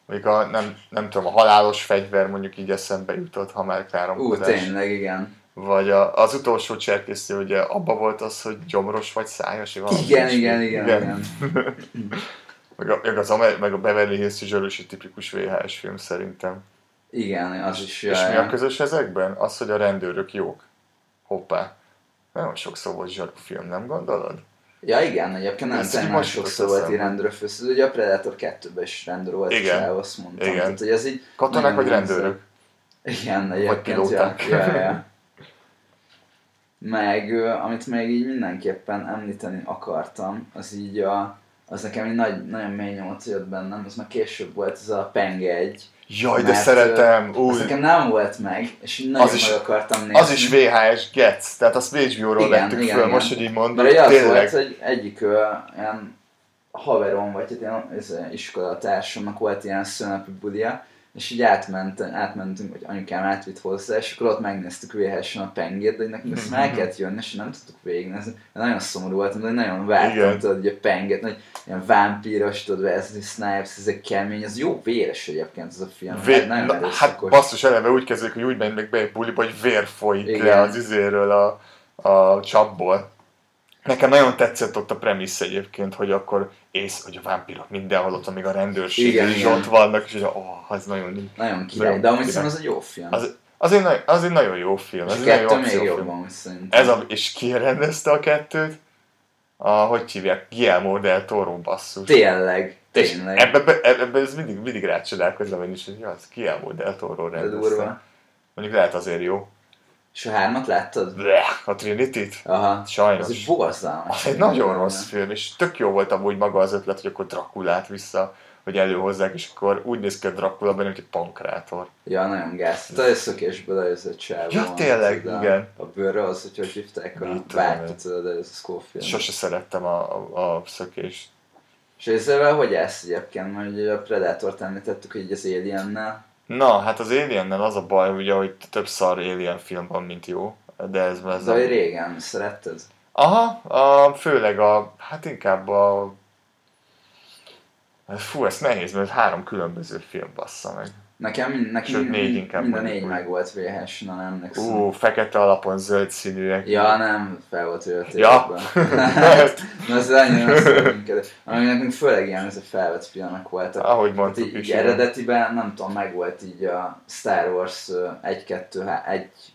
C: Még a, nem, nem tudom, a halálos fegyver mondjuk így eszembe jutott, ha már
D: Ú,
C: káromkodás.
D: tényleg, igen.
C: Vagy a, az utolsó cserkésző, ugye abba volt az, hogy gyomros vagy szájas, vagy valami
D: Igen,
C: ilyesmi.
D: igen, igen, igen.
C: Meg, a, meg, az, Amer- meg a Beverly Hills is egy tipikus VHS film szerintem.
D: Igen, az is.
C: És
D: jaj.
C: mi a közös ezekben? Az, hogy a rendőrök jók. Hoppá. Nagyon sokszor volt zsarú film, nem gondolod?
D: Ja igen, egyébként nem
C: Ez így
D: szerintem
C: most
D: sokszor
C: jutott
D: volt így
C: eszembe.
D: rendőr főszerző, ugye a Predator 2-ben is rendőr volt, és
C: Igen.
D: el azt mondtam.
C: Igen.
D: Tehát, hogy ez így,
C: Katonák
D: Nem,
C: vagy
D: nem
C: rendőrök?
D: igen, egyébként, ja,
C: pilóták.
D: ja, ja. Meg, ö, amit még így mindenképpen említeni akartam, az így a, az nekem egy nagy, nagyon mély nyomot jött bennem, az már később volt, ez a Penge 1.
C: Jaj, de
D: Mert,
C: szeretem!
D: Az
C: Új,
D: nekem nem volt meg, és így nagyon
C: Az is-
D: meg akartam nézni.
C: az is VHS Getz, tehát azt HBO-ról
D: Igen,
C: vettük
D: igen,
C: föl,
D: igen.
C: most, hogy így mondom,
D: Mert ugye az
C: tényleg.
D: volt, hogy egyik ö, ilyen haverom, vagy hát ilyen ez, iskolatársamnak volt ilyen szőnapi bulia, és így átment, átmentünk, vagy anyukám átvitt hozzá, és akkor ott megnéztük VHS-en a pengét, de így nekünk ezt meg kellett jönni, és nem tudtuk végignézni. Én nagyon szomorú voltam, de nagyon vártam,
C: Igen.
D: tudod, hogy a penget, hogy ilyen vámpíros, tudod, Wesley Snipes, ez egy kemény, az jó véres egyébként ez a film.
C: Vé-
D: nagyon
C: Na, hát
D: erőszakos.
C: basszus, eleve úgy kezdődik, hogy úgy mennek be egy buliba, hogy vér folyik
D: Igen.
C: le az izéről a, a csapból. Nekem nagyon tetszett ott a premissz egyébként, hogy akkor ész, hogy a vámpírok mindenhol ott, van, még a rendőrség
D: Igen,
C: is
D: igen.
C: ott vannak, és ó, oh, ez nagyon
D: Nagyon király,
C: nagyon
D: de amúgy
C: király.
D: szerintem az egy jó film.
C: Az, az, egy, nagy- az egy nagyon jó film.
D: és
C: Ez
D: a
C: egy nagyon jó
D: kettő még
C: akciófilm.
D: jobb amúgy szerintem.
C: Ez a, és ki rendezte a kettőt? A, hogy hívják? Guillermo del Toro basszus.
D: Tényleg,
C: És
D: tényleg.
C: ebbe, ebbe, ebbe ez mindig, mindig rácsodálkozom én is, hogy ja, az Guillermo del Toro
D: De
C: rendezte.
D: durva.
C: Mondjuk lehet azért jó.
D: És a hármat láttad?
C: Bleh, A Trinity-t?
D: Aha.
C: Sajnos.
D: Ez egy borzalmas.
C: Az egy nagyon rossz film, és tök jó volt amúgy maga az ötlet, hogy akkor Drakulát vissza, hogy előhozzák, és akkor úgy néz ki a Dracula benne, mint egy pankrátor.
D: Ja, nagyon gáz. Te ez szökésből ez a csávó.
C: Ja, tényleg,
D: tudod, a-
C: igen.
D: A bőrre az, hogy hogy hívták a
C: Mit tudom én.
D: bárkit, tudod, ez a Scofield.
C: Sose szerettem a, a, a szökést.
D: És ezzel hogy állsz egyébként? Mert ugye a Predatort említettük így az Aliennel.
C: Na, hát az Aliennel az a baj, ugye, hogy több szar Alien film van, mint jó. De ez már...
D: Ez ahogy régen szeretted.
C: Aha, a, főleg a, hát inkább a... Fú, ez nehéz, mert három különböző film bassza meg.
D: Nekem mind, nekem
C: Sőt, négy
D: mind-
C: inkább
D: mind a
C: mondjuk
D: négy
C: úgy.
D: meg volt VHS-en, nem emlékszem.
C: Ú, fekete alapon zöld színűek.
D: Ja, nem, fel volt ő a
C: Ja.
D: tévedben. Na ez annyira nem szól minket. Ami nekünk főleg ilyen ez a felvett filmek voltak.
C: Ahogy
D: Hát
C: mondtuk
D: így,
C: is.
D: így
C: igen.
D: eredetiben, nem tudom, meg volt így a Star Wars ö, 1-2, há-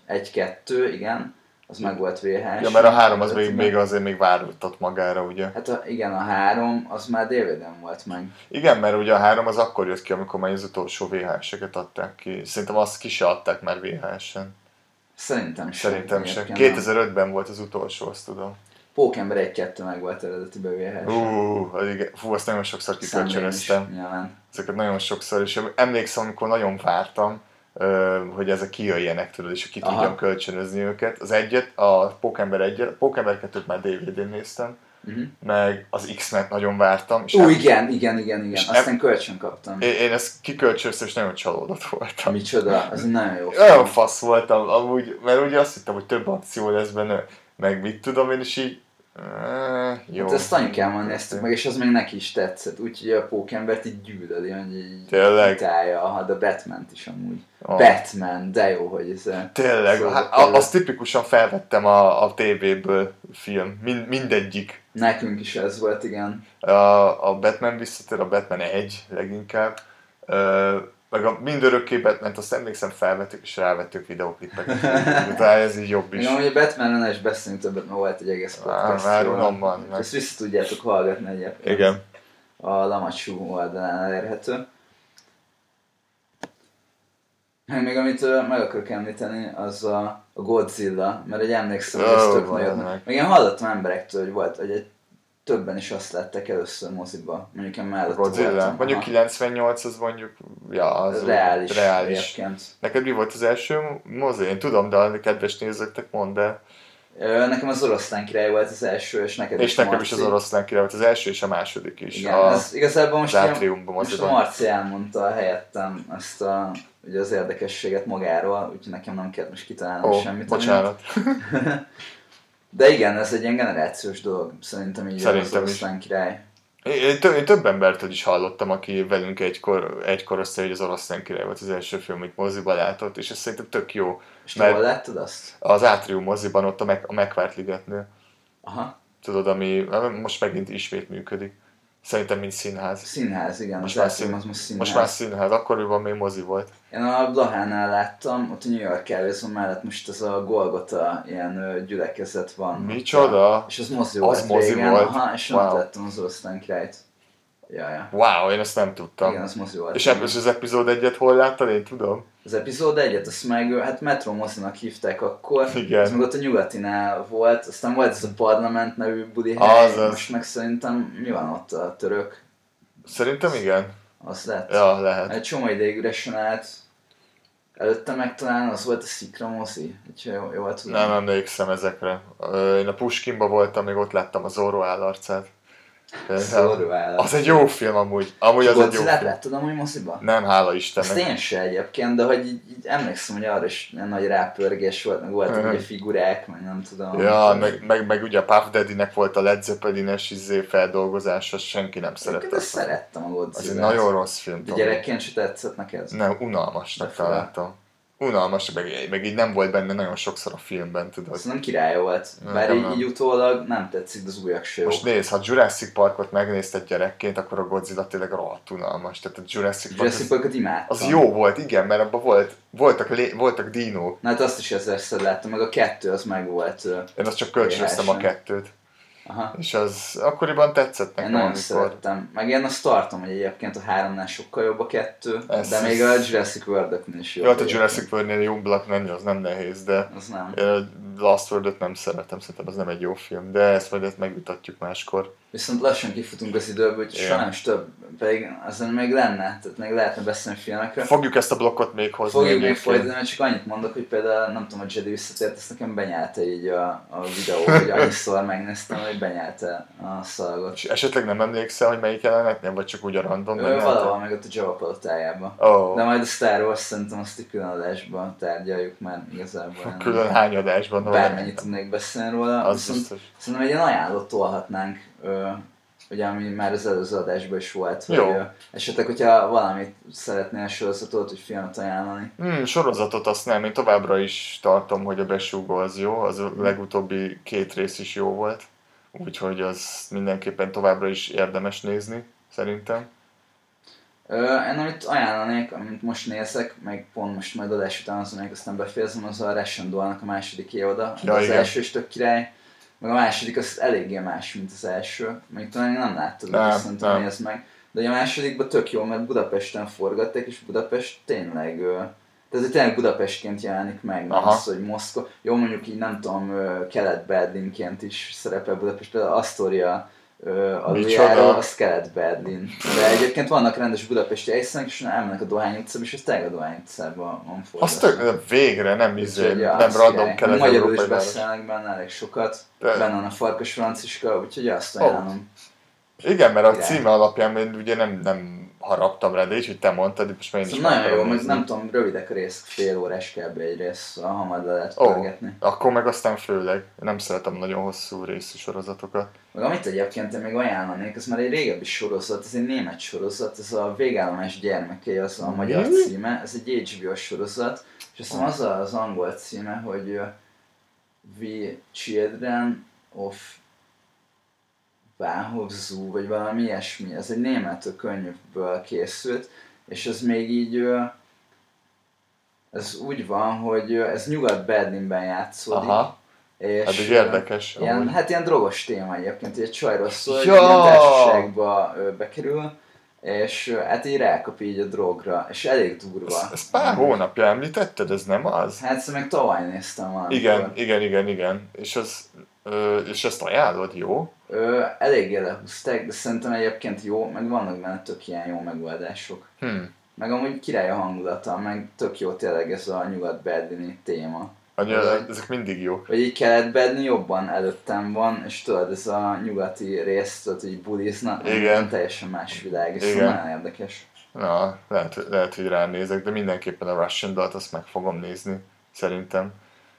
D: 1 1-2, igen, az meg volt VHS.
C: Ja, mert a három az még, még azért még vártott magára, ugye?
D: Hát a, igen, a három, az már dvd volt meg.
C: Igen, mert ugye a három az akkor jött ki, amikor már az utolsó VHS-eket adták ki. Szerintem azt ki se adták már VHS-en.
D: Szerintem sem.
C: Szerintem se.
D: egyébként.
C: 2005-ben volt az utolsó, azt tudom.
D: Pókember 1-2 meg volt eredetiben VHS.
C: Ú, az igen. Fú, azt nagyon sokszor
D: Sam Raimi is
C: kikölcsönöztem.
D: Nyilván.
C: ezeket nagyon sokszor, és emlékszem, amikor nagyon vártam, ö, hogy ezek kijöjjenek tudod, és ki
D: Aha.
C: tudjam kölcsönözni őket. Az egyet, a Pókember egyet, a Pókember 2 már DVD-n néztem,
D: Mhm.
C: meg az X-Men nagyon vártam, és
D: Ú,
C: em-
D: igen, igen, igen, igen.
C: és
D: Aztán kölcsön kaptam.
C: én, én ezt kikölcsönöztem, és nagyon csalódott voltam.
D: Micsoda, az egy nagyon jó.
C: Olyan
D: film.
C: fasz voltam, amúgy, mert ugye azt hittem, hogy több akció lesz benne, meg mit tudom én, és így... eh, Jó.
D: Hát ezt anyukámmal néztük meg, és az még neki is tetszett. Úgyhogy a pókembert így gyűlöli, hogy így
C: Tényleg?
D: utálja, ha, de batman is amúgy.
C: Ah.
D: Batman, de jó, hogy ez a...
C: Tényleg,
D: Szóval
C: hát,
D: tényleg.
C: a- azt tipikusan felvettem a, a tévéből film, Mind, mindegyik
D: Nekünk is ez volt, igen.
C: A, a Batman visszatér, a Batman 1 leginkább. Ö, meg a mindörökké Batman-t azt emlékszem felvettük, és rávettük videoklipeket. Utána ez így jobb
D: Még
C: is.
D: amúgy a batman is beszélünk többet, mert volt egy egész
C: Á,
D: podcast.
C: már
D: róla.
C: unom van, meg.
D: Ezt vissza tudjátok hallgatni egyébként.
C: Igen.
D: A Lamacsú oldalán elérhető. Hát Még amit ö, meg akarok említeni, az a, a Godzilla, mert egy emlékszem, hogy ez
C: Ó,
D: tök
C: van
D: nagyon...
C: meg.
D: Meg én hallottam emberektől, hogy volt, hogy egy, többen is azt látták először moziba, mondjuk én mellett
C: Godzilla.
D: voltam.
C: Mondjuk
D: Aha.
C: 98 az mondjuk, ja, az
D: reális,
C: reális.
D: egyébként.
C: Neked mi volt az első mozi? Én tudom, de a kedves nézőknek mondd el.
D: Ö, Nekem az oroszlán király volt az első, és neked
C: És nekem is az
D: Marci.
C: oroszlán király volt az első és a második is.
D: Igen,
C: a,
D: ez igazából most,
C: az
D: ilyen-
C: átriumban
D: most a
C: moziban.
D: Marci elmondta helyettem ezt a, ugye az érdekességet magáról, úgyhogy nekem nem kell most kitalálnom
C: Ó,
D: semmit.
C: bocsánat.
D: De igen, ez egy ilyen generációs dolog, szerintem így az
C: Szerintem is.
D: oroszlán király.
C: Én, tö- én több embertől is hallottam, aki velünk egykor, egykor osztja, hogy az oroszlán király volt az első film, amit moziba látott, és ez szerintem tök jó.
D: És te
C: Mert-
D: hol láttad azt?
C: Az Átrium moziban ott a, meg, a Megvárt ligetnél,
D: Aha,
C: tudod, ami most megint ismét működik. Szerintem, mint színház.
D: színház, igen,
C: Most
D: most
C: már
D: az
C: szín-
D: szín... az most színház.
C: Most már színház, akkoriban még mozi volt.
D: Én a Blahánál láttam, ott a New York kávézó mellett most ez a Golgota ilyen ö, gyülekezet van.
C: Micsoda?
D: És az mozi
C: Az
D: volt
C: mozi
D: régen,
C: volt.
D: Aha, és
C: Wow.
D: ott láttam az oroszlán királyt. Ja, ja.
C: Wow, én ezt nem tudtam.
D: Igen, az mozi volt.
C: És ebből az epizód egyet hol láttad? Én tudom.
D: az epizód egyet, azt meg hát Metro Moszinak hívták akkor,
C: Igen.
D: az meg ott a nyugatinál volt, aztán volt ez a parlament nevű budi hely,
C: Azaz.
D: most meg szerintem mi van ott a török,
C: Szerintem igen.
D: az lett.
C: Ja, lehet.
D: Egy csomó ideig üresen állt, előtte meg talán az volt a Szikra Moszi, hogyha jól, jól tudom.
C: Nem emlékszem ezekre. Ö, Én a Puskinba voltam, még ott láttam a Zorro állarcát.
D: Szorú állat.
C: Az egy jó film amúgy. Amúgy az egy jó
D: Godzilla-t
C: film.
D: láttad amúgy moziba?
C: Nem, hála
D: Azt
C: Istennek.
D: én se egyébként, de hogy így, így emlékszem, hogy arra is ilyen nagy rápörgés volt, meg voltak ugye figurák, meg nem tudom.
C: Ja, meg, meg, meg ugye a Puff Daddy-nek volt a Led Zeppelin-es izé feldolgozása, senki nem
D: Egyébként
C: szerette.
D: azt szerettem a
C: Az egy
D: Godzilla-t.
C: nagyon rossz film.
D: De
C: Tomi.
D: gyerekként se tetszett neked?
C: Nem, unalmasnak
D: De fura.
C: találtam. Unalmas, meg, meg így nem volt benne nagyon sokszor a filmben, tudod.
D: Az nem király volt.
C: Nem,
D: Bár
C: nem,
D: így,
C: nem.
D: így utólag nem tetszik, de az újak se jó.
C: Most nézd, ha Jurassic Parkot megnézted gyerekként, akkor a Godzilla tényleg rohadt unalmas. Tehát a Jurassic Park
D: Jurassic
C: az,
D: Parkot imádtam.
C: az jó volt, igen, mert abban volt, voltak, lé, voltak dinók.
D: Na hát azt is ezerszer láttam, meg a kettő az meg volt. ö,
C: Én azt csak kölcsönöztem a
D: Teljesen.
C: kettőt.
D: Aha.
C: és az akkoriban tetszett
D: Én
C: nekem,
D: nagyon
C: amikor
D: szerettem. Meg én azt tartom, hogy egyébként a háromnál sokkal jobb a kettő,
C: Ez-
D: de még a Jurassic world is jobb.
C: jó, hát a
D: egyébként.
C: Jurassic World-nél jobbnak lenni, az nem nehéz, de
D: Az nem.
C: Én a Last Word-ot nem szeretem, szerintem az nem egy jó film, de ezt majd ezt megvitatjuk máskor.
D: Viszont lassan kifutunk az időből, hogy
C: Igen.
D: sajnos több, pedig azon még lenne, tehát még lehetne beszélni filmekről.
C: Fogjuk ezt a blokkot még hozni.
D: Fogjuk még
C: egyébként.
D: folytatni, mert csak annyit mondok, hogy például nem tudom, hogy Jedi visszatért, ezt nekem benyelte így a, a videó, hogy annyiszor megnéztem, hogy benyelte a szalagot.
C: És esetleg nem emlékszel, hogy melyik jelenetnél, vagy csak úgy a random?
D: Ő
C: jelenetet?
D: valahol meg ott a Java palotájában.
C: Ó,
D: De majd a Star Wars szerintem azt egy külön adásban tárgyaljuk már igazából. nem-
C: külön hányadásban. ahol-
D: Bármennyit tudnék beszélni róla,
C: Az
D: viszont
C: biztos.
D: Szerintem egy ilyen ajánlót tolhatnánk, ö, ugye ami már az előző adásban is volt, hogy
C: Jó.
D: ö, esetleg, hogyha valamit szeretnél sorozatot, hogy filmet ajánlani.
C: Hmm, sorozatot azt nem, én továbbra is tartom, hogy a besúgó az jó, az a legutóbbi két rész is jó volt, úgyhogy az mindenképpen továbbra is érdemes nézni, szerintem.
D: Ö, én amit ajánlanék, amit most nézek, meg pont most majd adás után azon, amelyik aztán befejezem, az a Russian Doll-nak a második évoda.
C: Ja,
D: Ja, az
C: igen.
D: első is tök király, meg a második az eléggé más, mint az első. Még talán én nem láttad,
C: Nem,
D: nem, viszont
C: nem.
D: nézd meg. De ugye a másodikban tök jó, mert Budapesten forgatták, és Budapest tényleg... Ö, tehát hogy tényleg Budapestként jelenik meg, nem
C: Aha.
D: az, hogy Moszkva. Jó, mondjuk így nem tudom, ö, kelet-Berlinként is szerepel Budapest, például Astoria ö, aluljára,
C: Micsoda?
D: az kelet-Berlin. De egyébként vannak rendes budapesti helyszínek, és elmennek a Dohány utcába, és ez tényleg a Dohány utcában van
C: Azt tök, végre nem izé,
D: Úgyhogy, ja,
C: nem
D: azt
C: random
D: király. Magyarul is
C: kelet-európai város.
D: beszélnek benne elég sokat,
C: De-
D: benne van a Farkas Franciska, úgyhogy azt
C: Ó.
D: ajánlom.
C: Igen, mert a
D: Igen.
C: címe alapján én ugye nem, nem haraptam rá, de így, hogy te mondtad, és most már én is
D: Szóval
C: meg
D: nagyon jó,
C: akarom
D: meg
C: nézni.
D: nem tudom, rövidek a rész, fél órás kb. egy rész, a hamar le lehet
C: Ó.
D: pörgetni.
C: Akkor meg aztán főleg, én nem szeretem nagyon hosszú részű sorozatokat.
D: Meg amit egyébként én még ajánlanék, ez már egy régebbi sorozat, ez egy német sorozat, ez a Végállomás gyermekei, az a magyar
C: Mi?
D: címe, ez egy HBO sorozat, és azt
C: Ah.
D: hiszem az a- az angol címe, hogy ö, We Children of Báhof Zoo, vagy valami ilyesmi, ez egy német könyvből készült, és ez még így, ö, ez úgy van, hogy ö, ez Nyugat-Berlinben játszódik,
C: Aha,
D: és
C: hát így
D: ö,
C: érdekes.
D: Ilyen,
C: amúgy. Szóval
D: hát ilyen drogos téma egyébként, hogy egy csajról szól, hogy
C: Ja!
D: ilyen társaságba ö, bekerül, és ö, hát így rákap így a drogra, és elég durva.
C: Ezt, ezt pár hónapja említetted, ez nem az?
D: Hát ezt meg tavaly néztem valamikor.
C: Igen, igen, igen, igen. És, az, ö, és ezt ajánlod, jó?
D: Ö, eléggé lehúzták, de szerintem egyébként jó, meg vannak benne tök ilyen jó megoldások.
C: Hm.
D: Meg amúgy király a hangulata, meg tök jó tényleg ez a nyugat-berlini téma.
C: Anya, ezek mindig jók.
D: Vagy így kelet-berlin jobban előttem van, és tudod, ez a nyugati rész, tudod, hogy buliznak,
C: Igen.
D: teljesen más világ, és szóval
C: Igen.
D: nagyon érdekes.
C: Na, lehet, lehet, hogy ránézek, de mindenképpen a Russian Dalt azt meg fogom nézni, szerintem.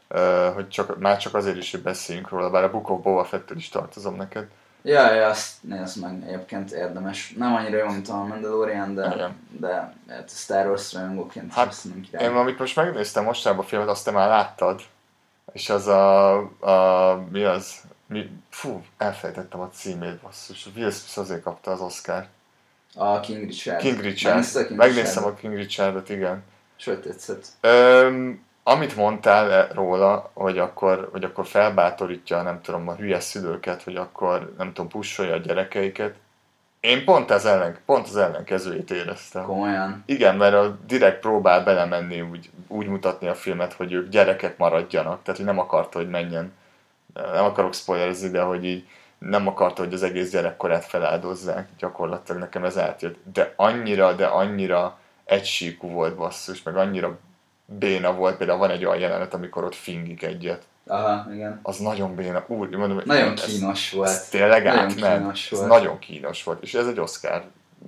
C: Ö, hogy csak, már csak azért is, hogy beszéljünk róla, bár a Book of Boba Fett-től is tartozom neked.
D: Ja, ja, azt nézd meg, egyébként érdemes. Nem annyira jó, mint a Mandalorian, de,
C: Igen.
D: de hát a Star Wars rajongóként
C: Hát,
D: hát, szerintem király.
C: Én amit most megnéztem mostanában a filmet, azt te már láttad. És az a... a mi az? Mi, fú, elfejtettem a címét, basszus. Will Smith azért kapta az Oscar.
D: A King Richard.
C: King Richard.
D: Megnézted a King
C: Megnéztem
D: Richard-et?
C: a King Richardot, igen.
D: És hogy tetszett?
C: Öm, amit mondtál e- róla, hogy akkor, hogy akkor felbátorítja, nem tudom, a hülye szülőket, hogy akkor, nem tudom, pusolja a gyerekeiket. Én pont, az ellen, pont az ellenkezőjét éreztem.
D: Komolyan.
C: Igen, mert a direkt próbál belemenni, úgy, úgy mutatni a filmet, hogy ők gyerekek maradjanak, tehát hogy nem akarta, hogy menjen. Nem akarok spoilerezni, de hogy így nem akarta, hogy az egész gyerekkorát feláldozzák, gyakorlatilag nekem ez átjött. De annyira, de annyira egysíkú volt basszus, meg annyira béna volt, például van egy olyan jelenet, amikor ott fingik egyet.
D: Aha, igen.
C: Az nagyon béna, úr, mondom, hogy
D: Nagyon
C: ez-
D: kínos
C: Ez
D: volt.
C: tényleg
D: Nagyon
C: átment.
D: kínos
C: Ez
D: volt.
C: nagyon kínos volt, és ez egy Oscar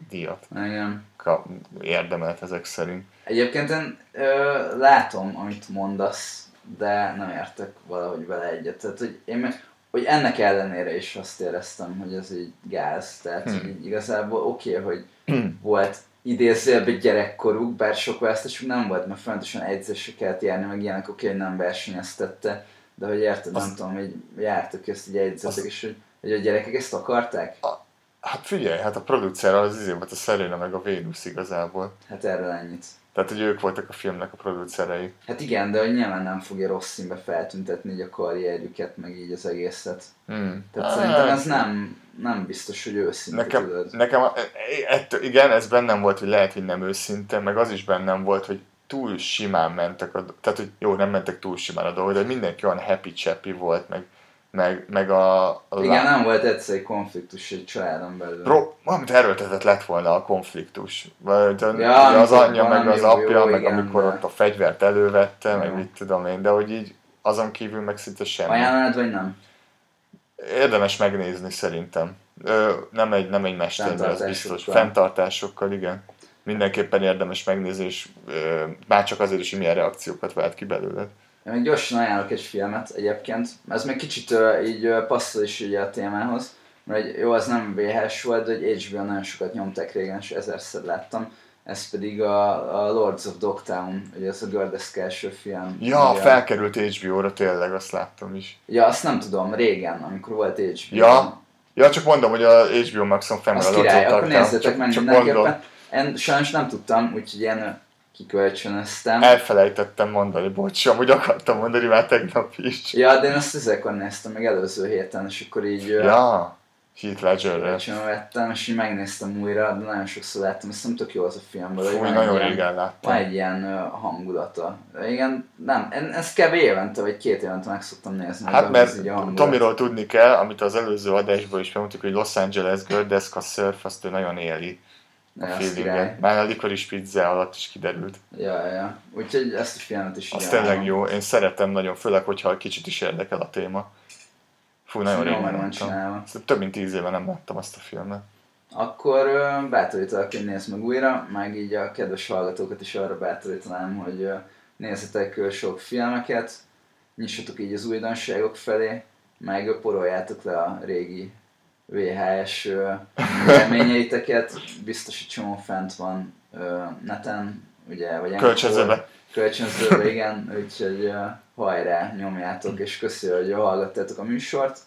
C: díjat
D: Igen.
C: ka- érdemelt ezek szerint.
D: Egyébként én ö, látom, amit mondasz, de nem értek valahogy vele egyet. Tehát, hogy én meg, hogy ennek ellenére is azt éreztem, hogy ez így gáz. Tehát,
C: Hmm.
D: hmm. így igazából oké, okay, hogy volt idézőjelben gyerekkoruk, bár sok választásuk nem volt, mert fontosan egyzésre kellett járni, meg ilyenek oké, hogy nem versenyeztette, de hogy érted,
C: Azt-
D: nem tudom, hogy jártak ezt így egyzettek,
C: Azt-
D: és hogy, hogy a gyerekek ezt akarták?
C: Hát figyelj, hát a producer az izé volt a Serena meg a Vénusz igazából.
D: Hát erről ennyit.
C: Tehát, hogy ők voltak a filmnek a producerei.
D: Hát igen, de hogy nyilván nem fogja rossz színbe feltüntetni így a karrierjüket, meg így az egészet.
C: Hmm.
D: Tehát
C: Hát,
D: szerintem ez Ah, nem, nem biztos, hogy őszinte
C: Nekem,
D: tudod.
C: nekem a- e- ettől, igen, ez bennem volt, hogy lehet, hogy nem őszinte, meg az is bennem volt, hogy túl simán mentek a do- tehát hogy jó, nem mentek túl simán a dolgok, de mindenki olyan happy chappy volt, meg, meg, meg a, a
D: Igen, nem volt egyszer egy konfliktus egy családon belül.
C: Pro, valamit erőltetett lett volna a konfliktus. Vagy de
D: Ja,
C: ugye az
D: amikor
C: anyja, meg
D: valami
C: az
D: jó,
C: apja,
D: jó,
C: meg
D: igen,
C: amikor
D: de-
C: ott a fegyvert elővette, meg
D: Ja.
C: mit tudom én, de hogy így azon kívül meg szinte semmi.
D: Ajánlanod vagy nem?
C: Érdemes megnézni szerintem. Ö, nem egy, nem egy mesterbe, az biztos.
D: Fenntartásokkal.
C: Fenntartásokkal, igen. Mindenképpen érdemes megnézni, és ö, már csak azért is, hogy milyen reakciókat vált ki belőled.
D: Én még gyorsan ajánlok egy filmet egyébként. Ez még kicsit uh, így uh, passzol is ugye a témához, mert hogy jó, az nem VHS volt, de hogy HBO nagyon sokat nyomták régen, és ezerszer láttam. Ez pedig a, a Lords of Dogtown, ugye ez a gördeszke első film.
C: Ja,
D: Ugye-
C: felkerült HBO-ra, tényleg, azt láttam is.
D: Ja, azt nem tudom, régen, amikor volt HBO.
C: Ja, ja csak mondom, hogy a HBO Maxon
D: az
C: fennmaradott.
D: király,
C: ott
D: akkor
C: tartám.
D: nézzetek
C: Csak-
D: meg
C: Csak mondom,
D: mindenképpen. Én sajnos nem tudtam, úgyhogy ilyen ö, kikölcsönöztem.
C: Elfelejtettem mondani, bocs, amúgy akartam mondani már tegnap is.
D: Ja, de én azt ezekor néztem meg előző héten, és akkor így ö,
C: Ja, Heath Ledgerre.
D: kölcsön vettem, és így megnéztem újra, de nagyon sokszor láttam, azt nem tök jó az a filmből.
C: Fúj,
D: hogy van
C: nagyon
D: egy ilyen-
C: régen
D: Van
C: láttam.
D: egy ilyen ö, hangulata. Igen, nem, én ezt kb. évente vagy két évente meg szoktam nézni.
C: Hát
D: hogy ez
C: mert
D: így a hangulat.
C: Tomiról tudni kell, amit az előző adásból is bemutatok, hogy Los Angeles Gördeszka Surf, azt ő nagyon éli a
D: Ja, az király.
C: feelinget. Már a likoris pizza alatt is kiderült.
D: Ja, ja. Úgyhogy ezt a filmet is
C: Az
D: így
C: tényleg
D: ajánlom.
C: jó, én szeretem nagyon, főleg, hogyha kicsit is érdekel a téma. Fú, nagyon
D: Ezt
C: régen
D: jól van
C: láttam.
D: csinálva.
C: Ezt Több mint tíz éve nem láttam azt a filmet.
D: Akkor ö, bátorítalak, hogy nézd meg újra, meg így a kedves hallgatókat is arra bátorítanám, hogy ö, nézzetek ö, sok filmeket, nyissatok így az újdonságok felé, meg ö, poroljátok le a régi VHS ö, élményeiteket, biztos, hogy csomó fent van ö, neten, ugye, vagy
C: Kölcsönzőbe.
D: Kölcsönzőbe, igen, úgyhogy ö, hajrá, nyomjátok, és köszönjük, hogy hallgattátok a műsort,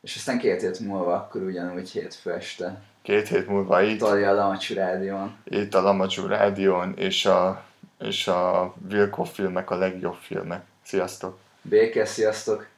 D: és aztán két hét múlva akkor ugyanúgy hétfő este
C: Két hét múlva itt.
D: Tolja a Lamacsú Rádión.
C: itt a Lamacsú Rádión, és a, és a Wilco filmek a legjobb filmek. Sziasztok!
D: Béke, sziasztok!